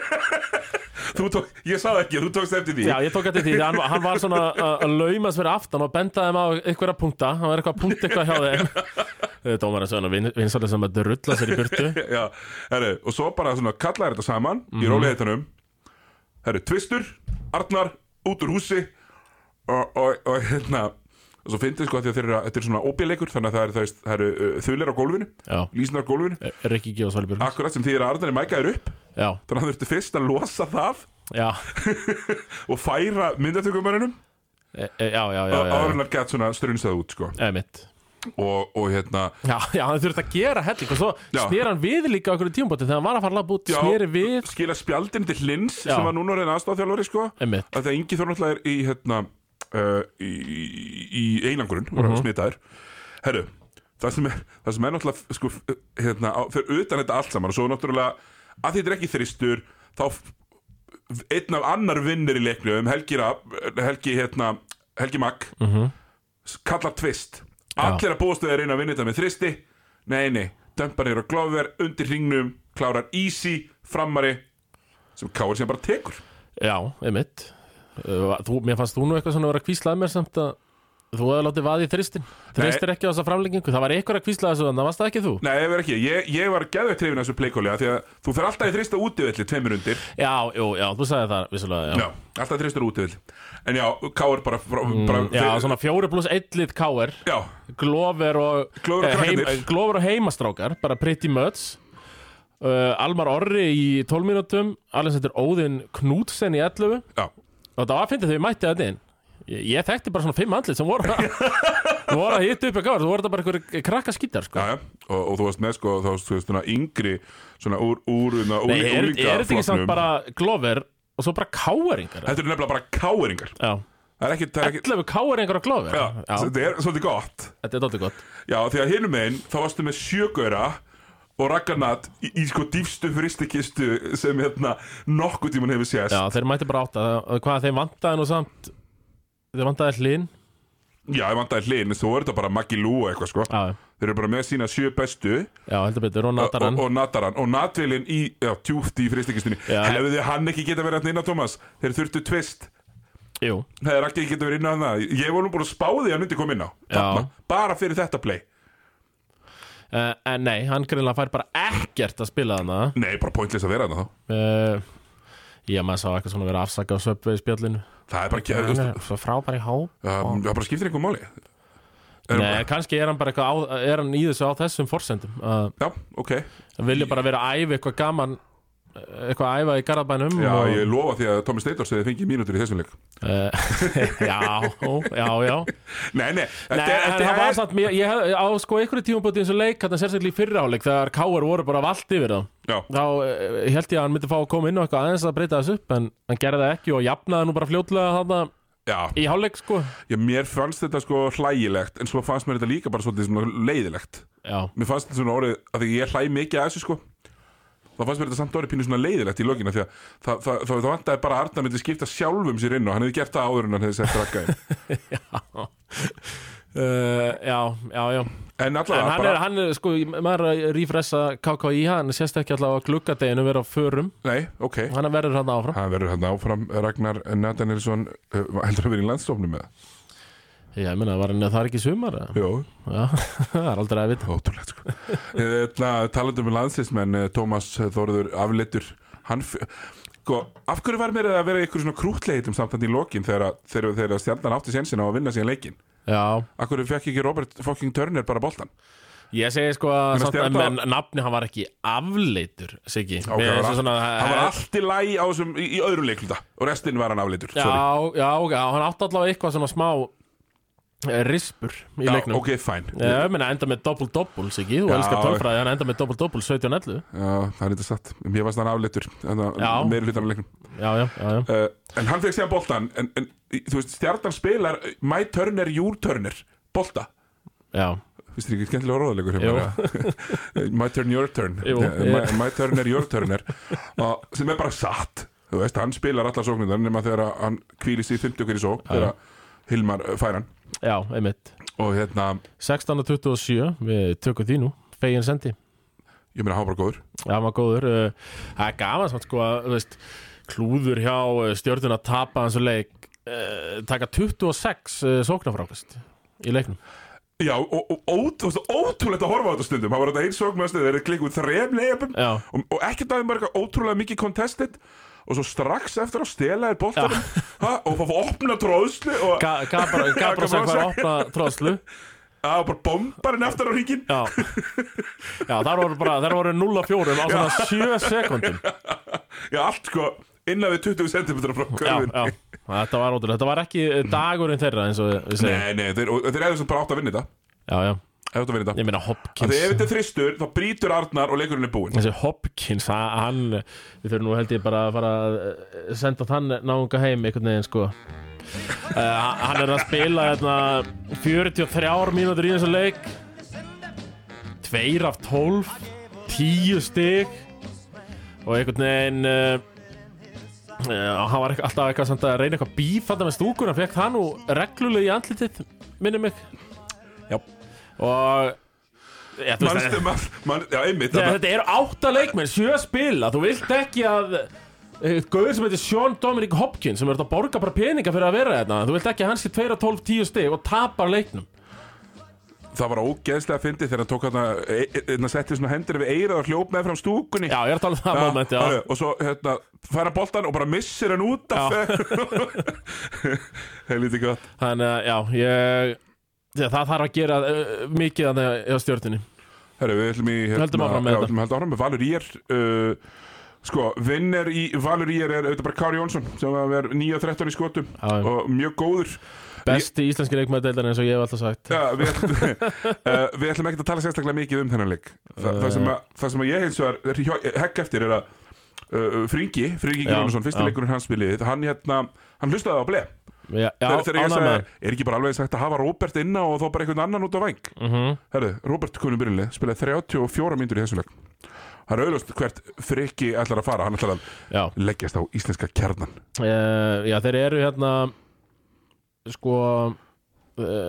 Þú tók, Ég sagði ekki, þú tókst eftir því
Já, ég tók eftir því, hann, hann var svona að að laumast fyrir aftan og benda þeim á einhverja punkta, hann var eitthvað punkt eitthvað hjá þeim Dómarinn svona vinsalega sem að rulla sér í burtu
Já, herri, og svo bara svona kallaði þetta saman
Mhm.
í róliðheitunum Herri, tvistur, Arnar, út úr húsi og, og, og hérna og svo fyndið sko að því að þeir eru að- þetta er svona óbíleikur þannig að það eru, það eru uh, þulir á gólfinu
Já,
lýsnar á gólfinu,
Rikki G. og Svali Björn
akkurat sem þýðir að Arnar er mækaður upp
Já,
þannig að hann þurfti fyrst að losa það
já,
og færa myndatökumarinnum
e, e- já, já, já, já, já.
áriðnar gett svona strunsað út sko.
Emitt
og, og hérna
Já, já, hann þurfti að gera helling og svo
Já.
snýr hann við líka okkur í tímabóti þegar hann var að fara að búti,
Já.
snýri við
skila spjaldin til Lins
Já.
sem var núna reyna aðstofþjálfari sko.
Emitt,
að það Ingi Þór náttúrulega er í hérna uh, í, í einangrun og uh -huh. smitaður herru, það sem er, það sem er náttúrulega sko, hérna, á, fyrir utan þetta allt saman og svo náttúrulega að því þetta er ekki þristur þá f- einn af annar vinnur í leiknum Helgi, Rapp- Helgi, hérna, Helgi Magg kallar tvist allir að búastu þeir reyna að vinna þetta með þristi nei, nei, dömpan eru að glóðver undir hringnum, klárar easy frammari sem Káir sem bara tekur
já, emitt Þú, mér fannst þú nú eitthvað svona að vera að kvíslaði mér samt að Þú hefði látið vaðið í þristin Þristir ekki á þessa framlengingu, það var eitthvað að kvíslaði þessu en það varst það ekki þú
Nei, ég verð ekki, ég, ég var geðveikt hrifin af þessu pleikóli af Því að þú fer alltaf í þrista útivilli tveimur undir
Já, jú, já, þú sagði það vissulega, já
Já, alltaf þristur útivill En já, Káur bara, bara, bara
Mm, Já, svona fjóri pluss eittlið káir
já,
Glover og
Glover og
eh,
krakkarnir.
eh, Glover og heimastrákar Bara pretty much uh, Almar Orri í 12 mínútum Alexander Óðinn Knútsen í 11
já,
Og það var að fyndi þau mætti þetta inn Ég, ég þekkti bara svona fimm andlit sem voru að- Þú voru að hitta upp að gáður Þú voru þetta bara einhverju krakka skýtar
já,
sko.
já. Og, og þú varst með sko, þá þú veist, svona yngri Svona úr, úr, úr, úr
Nei, er, er þetta ekki samt
úlingaflokknum.
bara Glover Og svo bara káeringar
Þetta eru nefnilega bara káeringar
Já
Það er ekki, það er ekki
11 káeringar og Glover
Já,
já
þetta er svolítið gott
þetta er dálítið gott
Já, því að hinum einn, þá varstu með sjögöra og raggarnat í, í sko dýfstu fristikistu sem hérna nokkuð tíman hefur sést
Já, þeir mætti bara átta Það- Hvað þeim vantaði nú samt Þeir vantaði hlinn
Já, ég vantaði hlinn, þú er þetta bara Maggi Lú og eitthvað sko
Já,
Þeir eru bara með sína sjö bestu
já, heldur betur Og
og,
natarann
og Nataran og Natvilin í, já, tjúft í fristikistunni
Já.
Hefði hann ekki geta verið hann inn á Thomas Þeir þurftu tvist
Jú,
Hefði Raggi ekki geta verið inn á hann Ég var nú búin að spá því að hann myndi koma inn á Þarna, Bara fyrir þetta play
uh, en nei, hann greinlega fær bara ekkert að spila þarna
Nei, bara pointless að vera hann þá
uh, Já, maður sá eitthvað svona vera afsaka á söpvei í spjallinu
Það er bara ekki, þú
Hann
veist,
er svo frábær í há
um, það bara skiptir einhver máli Erum-
Nei, kannski er hann bara eitthvað á, er hann í þessu á þessum forsendum að
Já, ok
hann vilja bara vera að æfa eitthvað gaman eh, eitthvað að æfa í garðabænum
Já,
og,
ég lofa því að Thomas Steindors hefði fengið mínútur í þessum leik
uh, Já, já, já
Nei, nei,
Nei,
þetta
en
þetta
það var samt, mér- ég hef á sko einhverju tímabóti eins og leik, þannig sérstaklega í fyrraháleik þegar Káar voru bara vald yfir það
Já,
þá eh, held ég að hann myndi fá að koma inn og eitthvað aðeins að breyta þessu upp en hann gerði það ekki og jafnaði nú bara fljótlega þarna
já,
í hálfleik sko
Já, mér fannst þetta sko hlægilegt en svo fannst mér þetta líka bara svolítið svona leiðilegt
Já,
Mér fannst þetta svona orðið að því ég hlæg mikið að þessu sko þá fannst mér þetta samt orðið pínu svona leiðilegt í lokina því að það, það, það, það vantaði bara að Arnar myndi skipta sjálfum sér inn og hann hefði gert það áður en hann hefði sett rakka inn
uh, já, já, já
En
En
allavega
hann
bara,
er, hann er sko, maður er að rífressa KKI, hann sést ekki allavega á gluggadeginu vera á förum,
nei, ok hérna
hann verður hann
eh,
áfram
Hann verður hann áfram Ragnar Natanilsson uh, heldur að vera í landstofnum með
Já, ég meina, var henni að það er ekki sumar? eða?
Jó,
Já, það er aldrei að vita
ótrúlegt sko Þetta talandum um landslismenn eh, Tómas Þóruður afleittur hann, f- sko, af hverju var mér að vera ykkur svona krútleitum samt hann í lokin þegar, að- þegar, þegar stjarnan átti sénsinn á að vinna síðan leikin
Já,
Af hverju fekk ekki Robert fucking Turner bara boltan
ég segi sko að
Meina,
samt að
Stjarnan-
menn, nafni hann var ekki afleitur, Siggi
Ok,
Mér
hann
finnst
var,
svona- eh,
all- hann var allt í læg á þessum, í, í öðrum leikluta og restinn var hann afleitur
Já,
sorry.
já, ok, hann átti allavega eitthvað svona smá eh, rispur í
Já,
leiknum
ok, fæn
Já, ég meina enda með doppel-doppel, Siggi, þú
Já,
elskar tölfræði, hann enda með doppel-doppel 17-11
það er þetta satt, mér varst hann afleitur
Já.
meiri hlutan af leiknum
Já, já, já, já
uh, En hann fekk síðan boltan en, en í- þú veist, stjarnan spilar uh, My Turner, Your Turner, bolta
Já,
Fyrst er ekki skemmtilega orðalegur
Jú.
hjá mér, eða? My turn, your turn
Jú.
my, my turn er your turner og, sem er bara satt þú veist, hann spilar allar sóknindar nema þegar að hann kvílist í 50 hverju sók þegar að Hilmar uh, fær hann
já, einmitt
og hérna,
16-27, við tökum því nú Fegin sendi
ég meina hann var bara góður
Já, hann var góður uh, Það er gaman samt sko að, þú veist, klúður hjá uh, stjórnun að tapa hans og leik uh, taka 26 uh, sóknarfrákast í leiknum
Já, og, og ót, þú veist, ótrúlegt að horfa á þetta stundum hann var þetta einn sókn með stundum, þeir eru klikkuð þrem leiðum
Já,
og, og ekkert aðeins bara eitthvað ótrúlega mikið contested og svo strax eftir að stela er boltanum ha, og fá opna tróðslu og
Ga- Gabra- Gabrasek var að opna tróðslu
að bara bombarinn eftir á ringin
Já, já þar voru bara þar voru 0-4 á svona 7 sekundum
Já, allt sko innan við 20 cm frá
Já,
körfin
já, þetta var ótrúlega Þetta var ekki eh, dagurinn þeirra eins og við segjum
Nei, nei, þeir, og þeir hefðu sem bara átt að vinna þetta
Já, já,
Hefðu átt að vinna þetta
ég meina
Af
Hopkins
Því ef þetta er þristur, þá brýtur Arnar og leikurinn er búinn
þessi Hopkins, ha- hann við þurfum nú held ég bara að fara að eh, senda þann náunga heim einhvern veginn sko uh, hann er að spila hérna þarna 43 mínútur í þessu leik tveir af 12 10 stig og einhvern veginn uh, Uh, hann var ekki, alltaf eitthvað samt að reyna eitthvað bíf þarna með stúkuna, fekk það nú reglulega í andlitið, minni mig
Já.
og Já, þú veist,
Manstu, man, man, já, einmitt
Þegar
þarna-
þetta eru átta leikmenn, sjö spila Þú vilt ekki að eh, Gauður sem heitir Sean Dominic Hopkins sem er að borga bara peninga fyrir að vera þetta Þú vilt ekki að hans í 2-12-10 stig og tapar leiknum
Það var ógeðslega fyndið þegar hann tók e- hann að setja svona hendur við eirað og hljóp með fram stúkunni
Já, ég er að tala um það
Já,
moment já.
herru, Og svo hérna, færa boltan og bara missir hann út af Helviti gott
Þannig að, já, ég Já, það þarf að gera uh, mikið þannig á stjórninni
Herru, við ætlum í hérna,
Höldum áfram með
já,
þetta.
ætlum að halda áfram með Valur Ír uh, Sko, vinner í Valur Ír er auðvitað bara Kári Jónsson sem að vera 9-13 í skotum
Já, já.
og mjög góður
Besti íslenski leikmæðdeildar eins og ég hef alltaf sagt
ja, við, ætlum, uh, við ætlum ekkert að tala sérstaklega mikið um þennan leik Þa,
Eh.
það, sem að, það sem að ég hins vegar er hjá- hegg eftir er að uh, Fringi, Fringi
Já,
Gjónusson, fyrsti
já.
leikurinn hans spilið hann, hérna, hann hlustaði á blei
Já, já
þegar, þegar ég
ánægð með
sagði, er ekki bara alveg sagt að hafa Robert inna og þá bara einhvern annan út á væng mm
Mhm.
-hmm. Herðu, Robert kunum byrjunlega spilaði 34 myndur í þessu lag Það er auðvitað hvert friki ætlar að fara hann ætlar að
það. Já,
leggjast á íslenska kjarnan
uh, já, þeir eru hérna sko uh,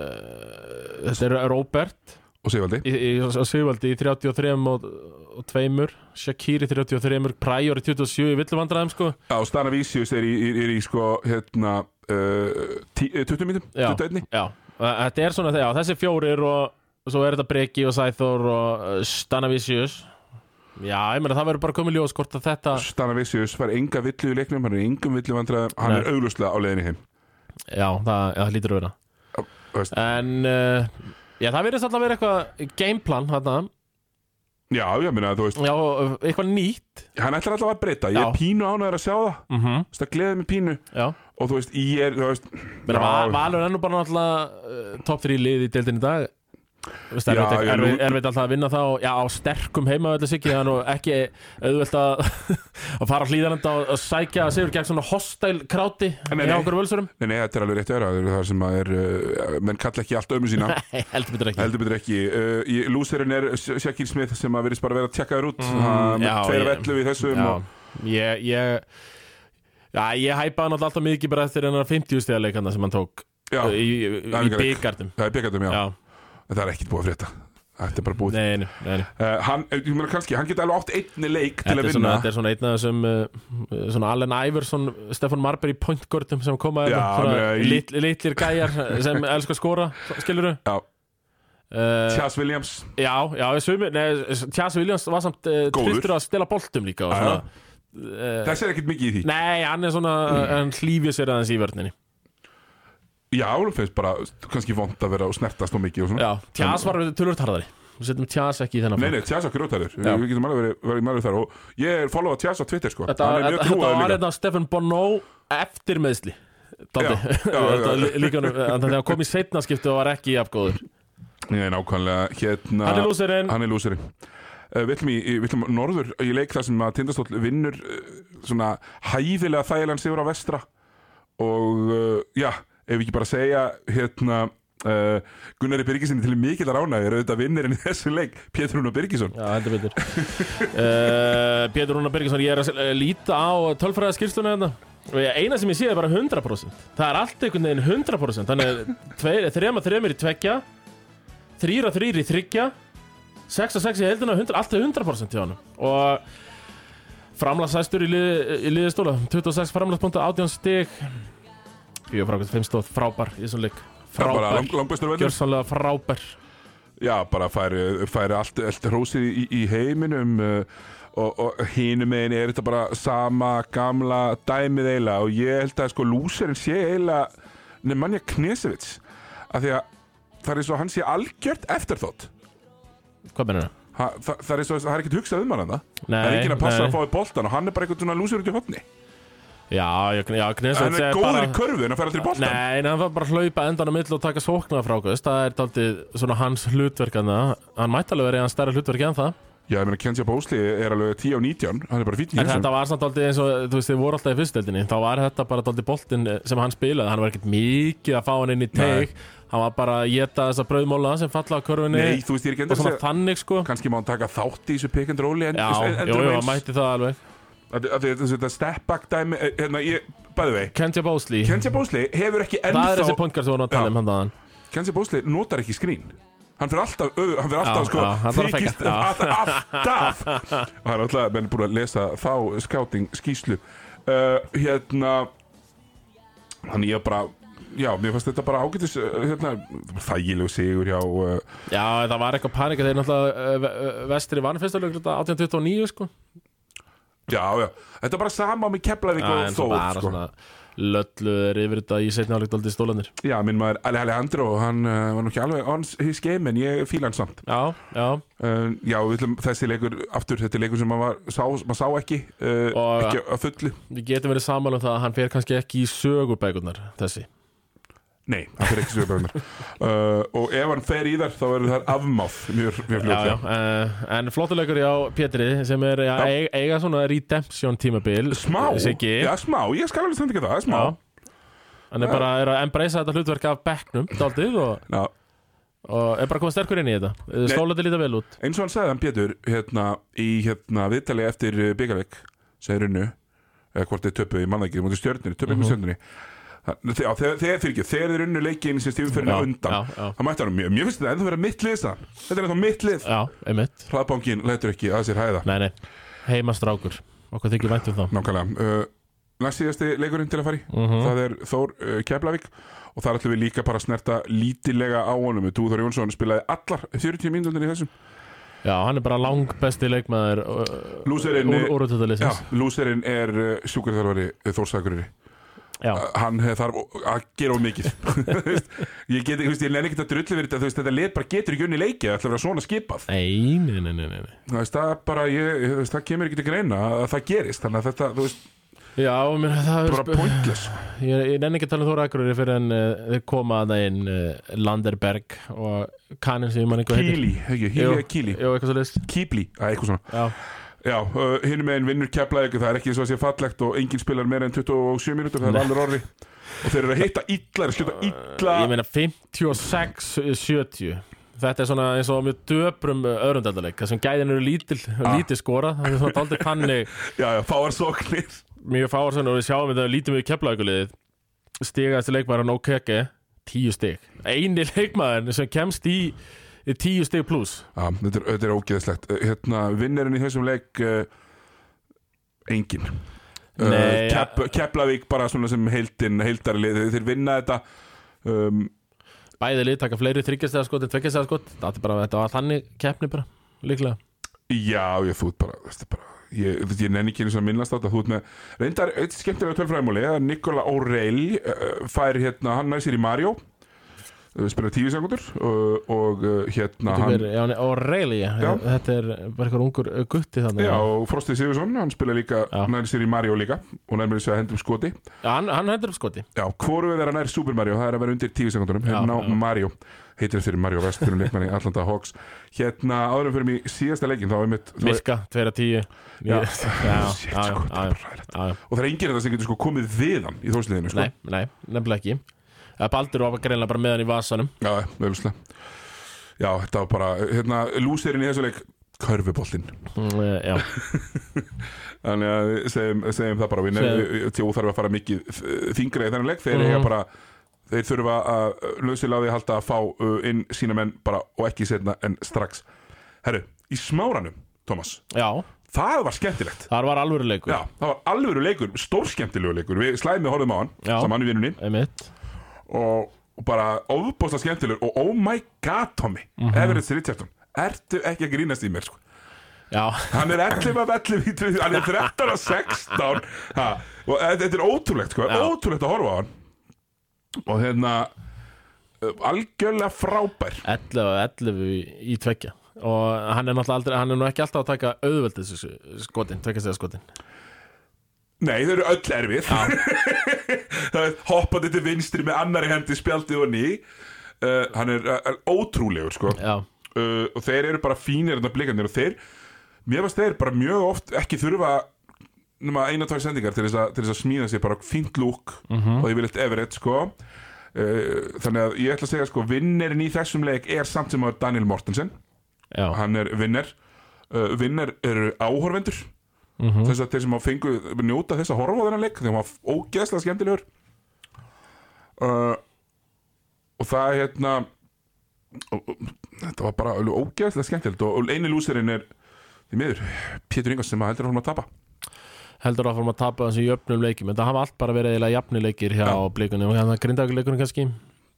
þetta er Robert
og Sigvaldi
í, í, á Sigvaldi í 33 og, og 2 Shakiri 33 Prior í 27 í villuvandræðum sko
Já, og Stana Vísius er í, er, er í sko hérna uh, tí, eh, 20 myndum,
Já.
21
já, Þa- þetta er svona þegar þessi fjórir og svo er þetta Breki og Sæþór og uh, Stanavisius já, ég meina það verður bara komið ljós hvort að þetta
Stana Vísius fær enga villu í leiknum hann er í engum villu vandræðum, hann
Nei.
er auðvitað á leiðinni heim
já, það, já, það lítur að vera
Þú veist,
en uh, já, það verður alltaf að vera eitthvað gameplan þarna,
Já, ég meina, þú veist
já, og uh, eitthvað nýtt
hann ætlar alltaf að breyta, ég
Já.
er pínu ánæður að sjá það
mm -hmm.
Þú veist, það gleðið mig pínu
já,
og þú veist, ég er, þú veist
Meina,
já,
Val- Valur er nú bara náttúrulega uh, top 3 lið í deildin í dag Þú veist,
Já,
erfitt
já,
er,
nú-
er, er alltaf að vinna það og, já, á sterkum heima öllu sikki það er nú ekki auðvelt að að fara hlýðananda og, og sækja að sigur gegn svona hostæl kráti
Nei, nei.
hjá okkur völsurum
Nei, nei, þetta er alveg rétt öðra Það er sem að er, uh, menn kalla ekki allt ömmu sína
heldur betur ekki
Heldur betur ekki uh, í- Lúserinn er Sjakir Smith sem að verðist bara vera tjekkaður út mm,
já,
Tveir af
ég-
ellu við þessum
já,
og,
ég ég, já, ég hæpaði náttúrulega alltaf mikið bara eftir hennar 50 stiga leikanda sem hann tók
já,
í, í,
æfingaleik.
í byggarnum
Það er byggandum, já.
já,
En það er ekkit búið að frétta Þetta er bara búið
Nei, nei, nei, nei.
uh, hann, Ég meina kannski, hann geti alveg átt einni leik til
Þetta,
að
er
vinna
svona, þetta er svona einn af þessum uh, svona Allen Iverson, Stefan Marbury pointgördum sem koma
Já,
hérna, svona
meina, í-
lit, litlir gæjar sem elskar að skora, skilur
Já,
uh,
Tjas Williams
Já, já, sumi, nei, Tjas Williams var samt uh,
Góður.
tristur að stela boltum líka og
Já,
svona, Eh,
Þessi er ekkert mikið í því
Nei, hann er svona,
Mm.
hann hlýfið sér aðeins í vörninni
Já, hún finnst bara kannski vond að vera og snertast og mikið og svona
Já, Tjas var tölvöld harðari Við setjum Tjas ekki í þennan
Nei,
flokk.
nei, Tjas á grjótarður
Já.
Við getum alveg verið- verið mælið þar og ég er follow að Tjas á Twitter sko
Þetta,
Hann er mjög
þetta, þetta
trúaður
var hérna-
líka
þetta Stefan Bonó eftir meðsli Daldi.
Já, já, já.
Þetta lí- Líka honum- þannig að hann kom í seinna skipti og var ekki jafngóður
Nei, nákvæmlega, hérna
Hann er lúserinn
Hann er lúseri Uh, við ætlum í, í- við ætlum norður í leik þar sem að Tindastóll vinnur uh, svona hæfilega þægilegan sigur á vestra og uh, já, ef við ekki bara segja hérna uh, Gunnari Birgisinni til mikillar ánægir auðvitað vinnirinn í þessu leik, Pétur Rúnar Birgisson
Já, heldur betur uh, Pétur Rúnar Bergesson, ég er að eh, líta á tölfræða skýrsluna þetta og ég- eina sem ég sé er bara 100% Það er allt einhvern veginn 100% Þannig að tveir- þrema þremur í tvekja þrýra þrýr í þryggja 6 og 6 í heldina, 100, alltaf 100% hjá hann og framlagsæstur í, lið, í liðistóla 26 framlagspunkta, 18 stig 4 frákvæmt, 5 stóð, frábær í þessum leik,
Það er bara
frábær
lang, langbæstur völlur
gjörsanlega frábær
Já, bara færi, færi allt, allt hrósið í, í heiminum uh, og, og hinum megin er þetta bara sama gamla dæmið eiginlega og ég held að sko lúserinn sé eiginlega Nemanja Knesevits af því að það er eins og hann sé algjört eftirþótt
hvað mennir það?
Ha, það, það er eins og það er ekkert hugsað um hann þarna.
Nei,
það er ekki að passa
nei.
að fá í boltan og hann er bara einhvern svona lúsur út í hotni
Já, já, já Knesset
hann er góður í körfu en að færa allir í boltan
Nei, nei, hann var bara að hlaupa endan á mill og taka sóknar frákvæst það er daldið svona hans hlutverkana hann mætti alveg verið hann stærra hlutverki en það
já, ég meina Kenji Bósli er alveg 10 og 19 hann er bara fýtni
En þetta var samt aldrei eins og, þú veist, þið voru alltaf í fyrstdeldinni Þá var þetta bara aldrei boltinn sem hann spilaði Hann var ekkert mikið að fá hann inn í teik Hann var bara að geta þessa brauðmóla sem falla á körfunni
nei, þú veist ég er ekki
Og
endur
svona þannig, sko
kannski má hann taka þátt í þessu pick and roll en,
Já,
en-
jú,
endur
jú,
um
hann
eins.
mætti það alveg
Af því- af því þetta- þetta step back dæmi eh, hérna, ég, bæði vei,
Kenja Bósli,
Kenji Bósli hefur ekki
það er þessi
ennþá
punkar sem voru að
Já.
tala um hann þaðan
Kenji Bósli notar ekki skrín hann fyrir alltaf, ö, hann fyrir alltaf
Já,
sko,
já, hann þarf að fækka.
þykist
Já.
alltaf, alltaf og hann er alltaf, menn er búin að lesa þá skáting skýslu uh, hérna þannig ég bara já, mér fannst þetta bara ágætis uh, hérna, þægilegu sigur hjá uh,
Já, það var eitthvað panika þegar náttúrulega eh, ve- eh, vestri vann fyrstuleik 1829, sko
já, já, þetta er bara sama með Keflavík
Já,
og
en svo
Þór
bara
sko.
svona lölluður yfir þetta í setni áleik daldið stólanir
já, minn maður Ali Alejandro, hann uh, var nú ekki alveg on his game en ég fíla hann samt
Já, já
Uh, já, við ætlum, þessi leikur aftur, þetta er leikur sem maður, var, sá, maður sá ekki uh,
Og- eh.
ekki að fullu
Við getum verið saman um það að hann fer kannski ekki í sögubækurnar þessi
Nei, hann fer ekki sögubæðunar uh, og ef hann fer í þar þá verður það afmáð mjög, mjög
já, já,
fljótlega
uh, en flottuleikur hjá Pétri sem er já,
Já.
eig- eiga svona redemption tímabil
Smá,
Siggi
já smá, ég skal alveg standa ekki það, það er smá
Já. hann er bara er að embracea þetta hlutverk af bekknum daldið og,
Já,
og er bara komið sterkur inn í þetta stólaði líta vel út
Eins og hann sagði hann Pétur hérna, í hérna, viðtali eftir byggarleik segir unnu, eða hvort þeir töpu ég manna ekki, mútið stjörnir, töpu
Mhm.
ykkur stjörnir Já, þegar, þegar, fyrir ekki, þegar þeir unnu leikin sem stífumferðin á
Já,
undan
já, já.
það mætti hann mjög, mér finnst þetta ennþá vera mitt lið sagði hann. þetta er ennþá mitt lið
já, einmitt,
Hraðbankinn lætur ekki að sér hæða
nei nei heimastrákur, okkur þykir vænt um það
Nákvæmlega uh, Næst síðasti leikurinn til að fari
Mhm.
Það er Þór uh, Keflavík Og þar ætlum við líka bara að snerta lítilega á honum Þú Þór Jónsson spilaði allar 40 mínútur í þessum
já, hann er bara lang besti leikmaður uh,
Lúserinn
úr, úr
Já,
úrutölduleysins
lúserinn er uh, sjúkarþjálfari Þórsakurinn
já,
Hann eh, þarf ó- að gera of mikið Þú veist, Ég get ekki, ég nenni ekki að drullu verið þetta, þú veist, Þetta lið bara getur ekki unni leiki Það ætla að vera svona skipað
nei, nei, nei, nei, nei.
Þú veist, Það er bara, ég, þú veist, það kemur ekki til greina að það gerist Þannig að þetta, þú veist,
já, mér, það
bara pointless
Ég, ég nenni ekki að tala um Þóra Akureyri fyrir en uh, þeir koma að það inn uh, Landerberg og kaninn sem ég man eitthvað
Kíli, ekki,
Jú,
híli að kíli
Jú, eitthvað svo list
Kíbli, að eitthvað svona
Já,
Já, uh, hinum meginn vinnur keflaðið það er ekki eins og að sé fallegt og enginn spilar meira en 27 mínútur, það er alveg orði og þeir eru að hitta illa, þeir skjóta illa
ég meina 56-70 Þetta er svona eins og mjög döprum öðrundaldaleik þar sem gæðin eru lítil, ah. lítið skora það er svona daldið þannig
Já, já, fáar sóknir
mjög fáar svona og við sjáum þetta lítið mjög keflaðugulegið stigast leikmaður á Nókeke 10 stig eini leikmaður sem kemst í Í tíu stig pluss
Já, þetta er, þetta er ógeðslegt Eh, hérna, Vinnirinn í þessum leik uh, Engin
Nei,
uh, Kep, Keplavík bara svona sem heildin Heildarlið, þeir, þeir vinna þetta um,
Bæði lið taka fleiri þryggjastega skot en tveggjastega skot Þetta, er bara, þetta var þannig keppni bara Líklega
Já, ég þú ert bara, þetta er bara Ég, þú- ég nenni ekki eins og að minnast á þetta þú ert með, reyndar, eitt skemmtilega tölfræðmúli að Nikola O'Reilly uh, fær hérna, hann nær sér í Mario uh, spyrir tíu sekundur uh, og uh, hérna
hann...
hann,
er, já, og Rayleigh
Já.
Þetta er bara eitthvað ungur uh, gutti þannig
já, og Frosti Sigursson, hann spila líka
Já.
nær sér í Mario líka og nær mér sér að hendum skoti
Hann, hann hendur upp skoti
Já, hvoru við er að nær Super Mario, það er að vera undir tíu sekundunum hérna á
Já, já.
Mario, heitir eftir Mario Vesturinn leikmanni Atlanta Hawks hérna áðurum fyrir mig í síðasta leikin þá er mitt þá er-
Virka, 2 að 10
Já. Shit,
já, já,
sko, það
já,
er bara hræðilegt.
já, já.
og það er enginn þetta sem getur sko komið við hann í þósliðinu sko.
Nei, nei, nefnilega ekki Það er Baldur var greinlega bara með hann í vasanum
Já, auðvitað Já, þetta var bara, hérna, lúsirinn í þessu leik Körfuboltinn
mm, eh, Já,
Þannig að við segjum, segjum það bara Við
Segjum.
nefnum, þú þarf að fara mikið eh, þyngra í þennan leik Þeir
Mhm.
eiga bara Þeir þurfa að lausiláði halda að fá eh, inn sína menn bara og ekki setna en strax Herru, í smáranum, Thomas
já,
Það var skemmtilegt
þar var alvöruleikur
Já, það var alvöru leikur, stórskemmtilegu leikur Við slæmið horfum á hann,
Já.
saman í vinnunni
Einmitt
og, og bara ofbósta skemmtilegur og oh my god Tommy
Mhm.
mm -hmm. Everett Richardson, ertu ekki að grínast í mér sko
Já,
hann er 11 af 11 í tríð hann er 13 af 16 ha, og e- þetta er ótrúlegt sko,
Já.
ótrúlegt að horfa á hann og hérna uh, algjörlega frábær
11 og 11 í, í tvekja og hann er náttúrulega aldrei, hann er nú ekki alltaf að taka auðveldið skotin, tvekjastega skotin
Nei, þau eru öll erfið Það er Hoppandi til vinstri með annari hendi spjaldið og ný uh, Hann er uh, ótrúlegur sko
Já,
uh, og þeir eru bara fínir þarna blikandir og þeir, mér varst þeir bara mjög oft ekki þurfa nema eina tvær sendingar til þess að, til þess að smíða sér bara fínt lúk og ég vil eitt Everett sko uh, þannig að ég ætla að segja sko vinnerinn í þessum leik er samt sem að Daniel Mortensen
já,
hann er vinner uh, vinner eru áhorfendur
Mhm.
þess að þeir sem að fengu njóta þess að horfa á þennan leik þegar maður ógeðslega skemmtilegur uh, og það hérna og, og, þetta var bara alveg ógeðslega skemmtilegt og, og eini lúserinn er því miður, Pétur Ingars sem að heldur að hann að tapa
heldur áfram að tapa þessu jöfnum leikim en það hafa allt bara verið eiginlega jafni leikir hjá
Já.
blikunum, þannig að grindaguleikunum kannski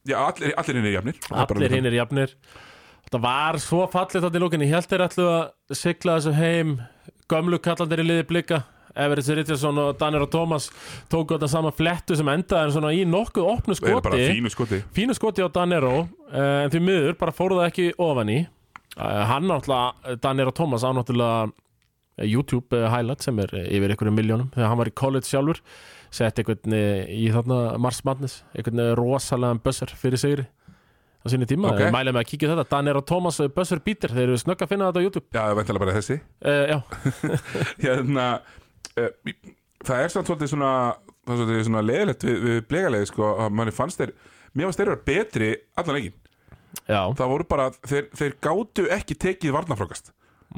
Já, allir, allir hinn er jafnir Það er bara-
allir hinn er jafnir þetta var svo fallið þátt í lókinni ég held þeir ætlu að sigla þessu heim gömlu kallandir í liði blika Everett Richardson og Danir og Thomas tóku þetta sama flettu sem endaði svona í nokkuð opnu
Það er bara
skoti
fínu skoti
fínu skoti á Danero eh, en því miður bara fóru það ekki ofan í Eh, hann náttúrulega, Danir og Thomas á náttúrulega eh, YouTube eh, highlight sem er eh, yfir einhverjum miljónum þegar hann var í college sjálfur sett einhvern eh, í þarna Mars Madness einhvern eh, rosalegan buzzer fyrir sigri á sinni tíma,
Ok.
okay. mælið með að kíkja á þetta Danir og Thomas og buzzer beater, þeir eru snögg að finna þetta á YouTube
Já, það væntalega bara þessi
uh, já,
hérna, uh, það er samt svolítið svona, það er svolítið svona leðilegt við, við blegalegi sko að manni fannst þeir mér fannst þeir vera betri allan ekki
já,
það voru bara, þeir, þeir gátu ekki tekið varnafrókast,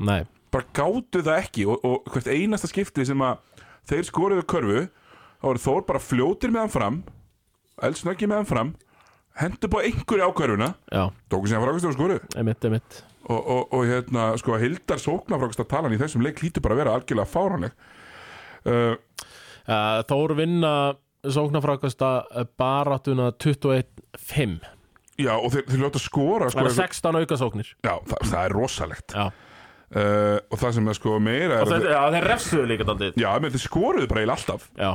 nei
bara gátu það ekki og, og hvert einasta skipti sem að þeir skoruðu körfu þá voru Þór bara fljótir meðan fram eldsnöggi meðan fram hendur bara einhverju á körfuna
já,
tóku síðan frákast og skoruðu
emitt, emitt
og, og, og hérna, sko, Hildar sóknafrákast að tala í þessum leik hlýtur bara að vera algjörlega fáranleg uh,
uh, Þór vinna sóknarfrákasta baráttuna 21-5
Já, og þeir, þeir ljóta að skora sko,
það er 16 aukasóknir
Já, það, það er rosalegt
já.
uh, Og það sem er sko meira er
og
að
þeir, já, þeir refsuðu líka daldið
Já, menn þeir skoruðu bara eiginlega alltaf
já,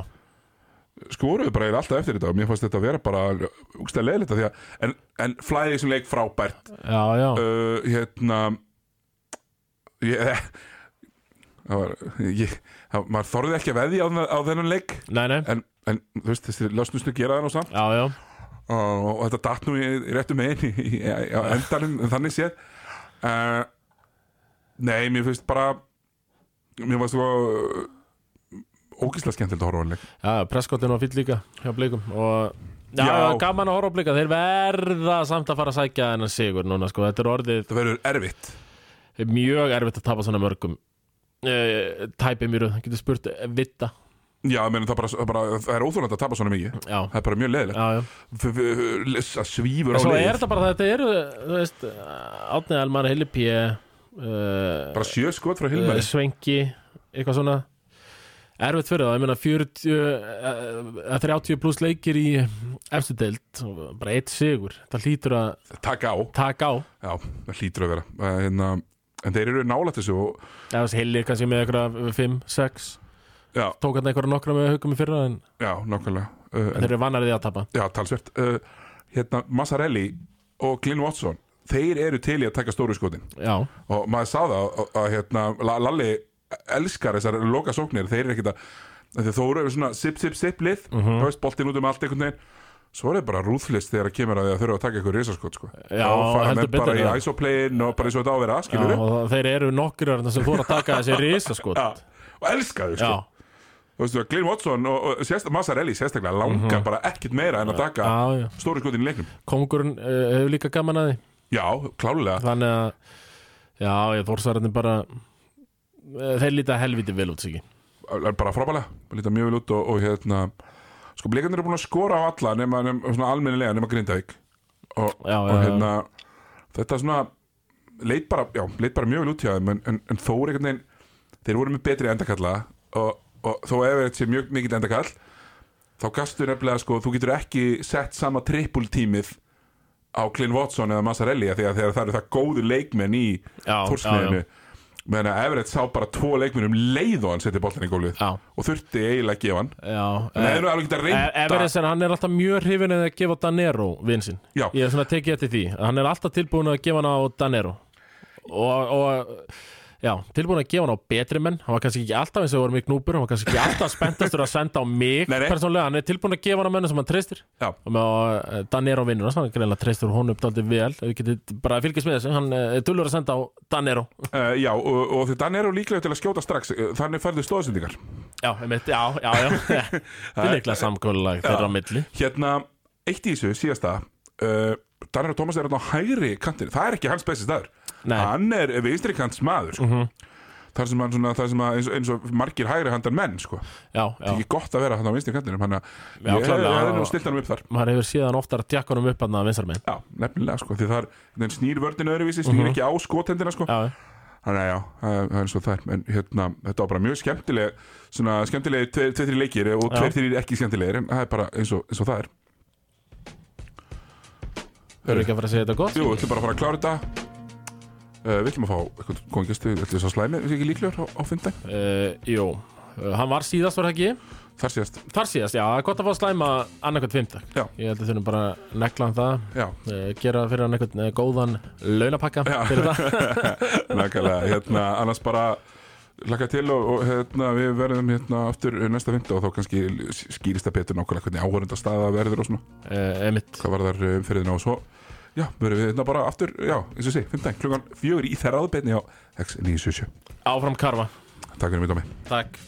Skoruðu bara eiginlega alltaf eftir þetta og Mér fannst þetta að vera bara Úkstæða leiðilegt af því að En, en flæði sem leik frábært
já, já,
uh, Hérna Ég eh, Það var ég, það, Maður þorði ekki að veðja á, þennan- á þennan leik
nei, nei
En, en þú veist, þessi lasnusnu gera það nú samt
já, já,
og, og þetta datt nú í, í réttu megin í, í, á endanum þannig séð uh, Nei, mér finnst bara mér var svo uh, ógíslega skemmtilegt að horfa á hann leik
já, presskottin var fýll líka hjá blikum og já,
Já.
já, gaman að horfa á blika þeir verða samt að fara að sækja þennan sigur núna, sko, þetta er orðið
Það verður erfitt
mjög erfitt að tapa svona mörgum uh, tæpið mjög, getur spurt eh, vita
Já, menn, það, bara, það, bara, það er óþólandi að tapa svona mikið
Já.
Það er bara mjög leðilegt
já, já.
Það svífur á
Svo
leið
er þetta bara, þetta eru, þú veist, Átni Elmar, Hilli P, uh,
Bara sjö skot frá Hilmari
Eh, Svenki, eitthvað svona erfitt fyrir það, ég meina 40 eh, eh, 30 pluss leikir í efstu deild, og bara eitt sigur það hlýtur að
Takk á
taka á
Já, það hlýtur að vera Eh, hérna, En þeir eru nálætt þessu og,
eða þessi heilir kannski með eitthvað 5, 6
Já,
tók hann eitthvað nokkra með hugum í fyrra en
já, nákvæmlega uh,
þeir eru vannar því að tapa
Já, talsvert uh, Hérna, Massarelli og Glyn Watson Þeir eru til í að taka stóru skotin
já,
og maður sá það að, að, hérna, La- Lalli elskar þessar lokasóknir þeir eru ekkit að af því að þó eru við svona sip, sip, sip lið uh
Mhm.
-huh. boltinn út um allt einhvern veginn svo er þeir bara rúðlist þegar að kemur að þeir þurfa að taka ykkur risaskot sko.
Já,
og fara
heldur
með bara
betur
í
það.
isoplayin og bara eins og þetta á að vera
já
aðskilur
og þeir eru nokkur sem fór að taka þessi risa sko já,
og elska þau sko.
já,
Þú veistu, Glyn Watson og, og sérst, Massarelli sérstaklega langar bara ekkit meira en að taka
Mhm. já, já.
stóru skotin í leiknum
kongurinn uh, hefur líka gaman að því
já, klálega
þannig að já, ég þórsarðin bara eh, þeir líta helviti vel út siki
bara frábælega, líta mjög vel út og, og hérna, sko blikarnir eru búin að skora á alla nema, nema svona almennilega nema Grindavík og,
Já,
og
já, já.
hérna þetta svona leit bara, já, leit bara mjög vel út hjá þeim en, en, en þó er einhvern veginn þeir voru með betri endakalla og, og þó ef þetta sé mjög mikill endakall þá gastu nefnilega sko þú getur ekki sett sama trippultímið á Glyn Watson eða Massarelli af því að þegar það eru það góðu leikmenn í
Já,
þórsmiðinu meðan að Everett sá bara tvo leikmenn um leið og hann setja boltan í gólfið
já, Eh,
og þurfti eiginlega að gefa hann
já
en það er nú alveg ekki að reynda
Eh, Everest, hann er alltaf mjög hrifin að gefa Danero vinsinn.
Já.
Ég er svona að tekið eftir því. Hann er alltaf tilbúin að gefa hann á Danero. Og, og já, tilbúin að gefa hann á betri menn. Hann var kannski ekki alltaf eins og vorum í knúpur, hann var kannski ekki alltaf spenntastur að senda á mig
Nei, nei.
persónulega. Hann er tilbúin að gefa hann á mennum sem hann treystir.
Já.
Og með að Danero vinnur, hans, hann greinlega treystur hún upp daldið vel. Þau getur bara að fylgjast með þessu. Hann eh, er tullur að senda á Danero.
uh, já, og, og því Dan er líklega til að skjóta strax eh, þannig færðu stóðsendingar
Já, einmitt, já, já, já. Þetta er leiklega samkólulag þeirra á milli.
hérna, eitt í þessu, síðasta uh, Dan er og Thomas er hérna á hægri kantinu það er ekki hans besti staður
Nei. Mhm.
hann er vinstri kants maður sko. þar sem hann svona, þar sem að eins, og- eins og margir hægri handar menn, sko það
Já, já.
er ekki gott að vera hann á vinstri kantinum hann að
Já,
ég hefði
klárlega.
hef nú stilt hann upp þar
maður hefur síðan oftar tjakkanum upp hann að vinsar með
já, nefnilega, sko, því þar þar snýr vörðin öðruvísi, snýr ekki á skotendina, sko
Mhm. já,
Þannig að já, það er- það er eins og það er En hérna, þetta var bara mjög skemmtileg Svona skemmtilegir, tveir, tveir, þrír leikir Og
Já.
tveir, þrír ekki skemmtilegir En það er bara eins og, eins og það er
þau eru ekki að fara að segja þetta gott
Jú, við ætlum bara að fara að klára þetta uh, Við ætlum að fá eitthvað góðingestu Þetta er svo slæmi, við ekki líklegur á, á fymdag
uh, jú, uh, hann var síðast var það ekki
Þar síðast,
þar síðast, já, það er gott að fá að slæma annarkvæmt fymtak
Já.
ég held að þurfum bara að negla hann það
já,
uh, gera fyrir hann einhvern uh, góðan launapakka
Já.
fyrir það
nægælega Hérna, annars bara Laka til og, og hérna, við verðum hérna aftur næsta fymta og þá kannski skýrist það betur nákvæmlega hvernig áhverjanda staða verður og svona
uh, emitt,
hvað var þar umferðina og svo já, verðum við hérna bara aftur, já, eins og sé 15 klukkan fjögur í þerraðbeinni á X977
áfram karfa
Takk fyrir mig, Dómi
takk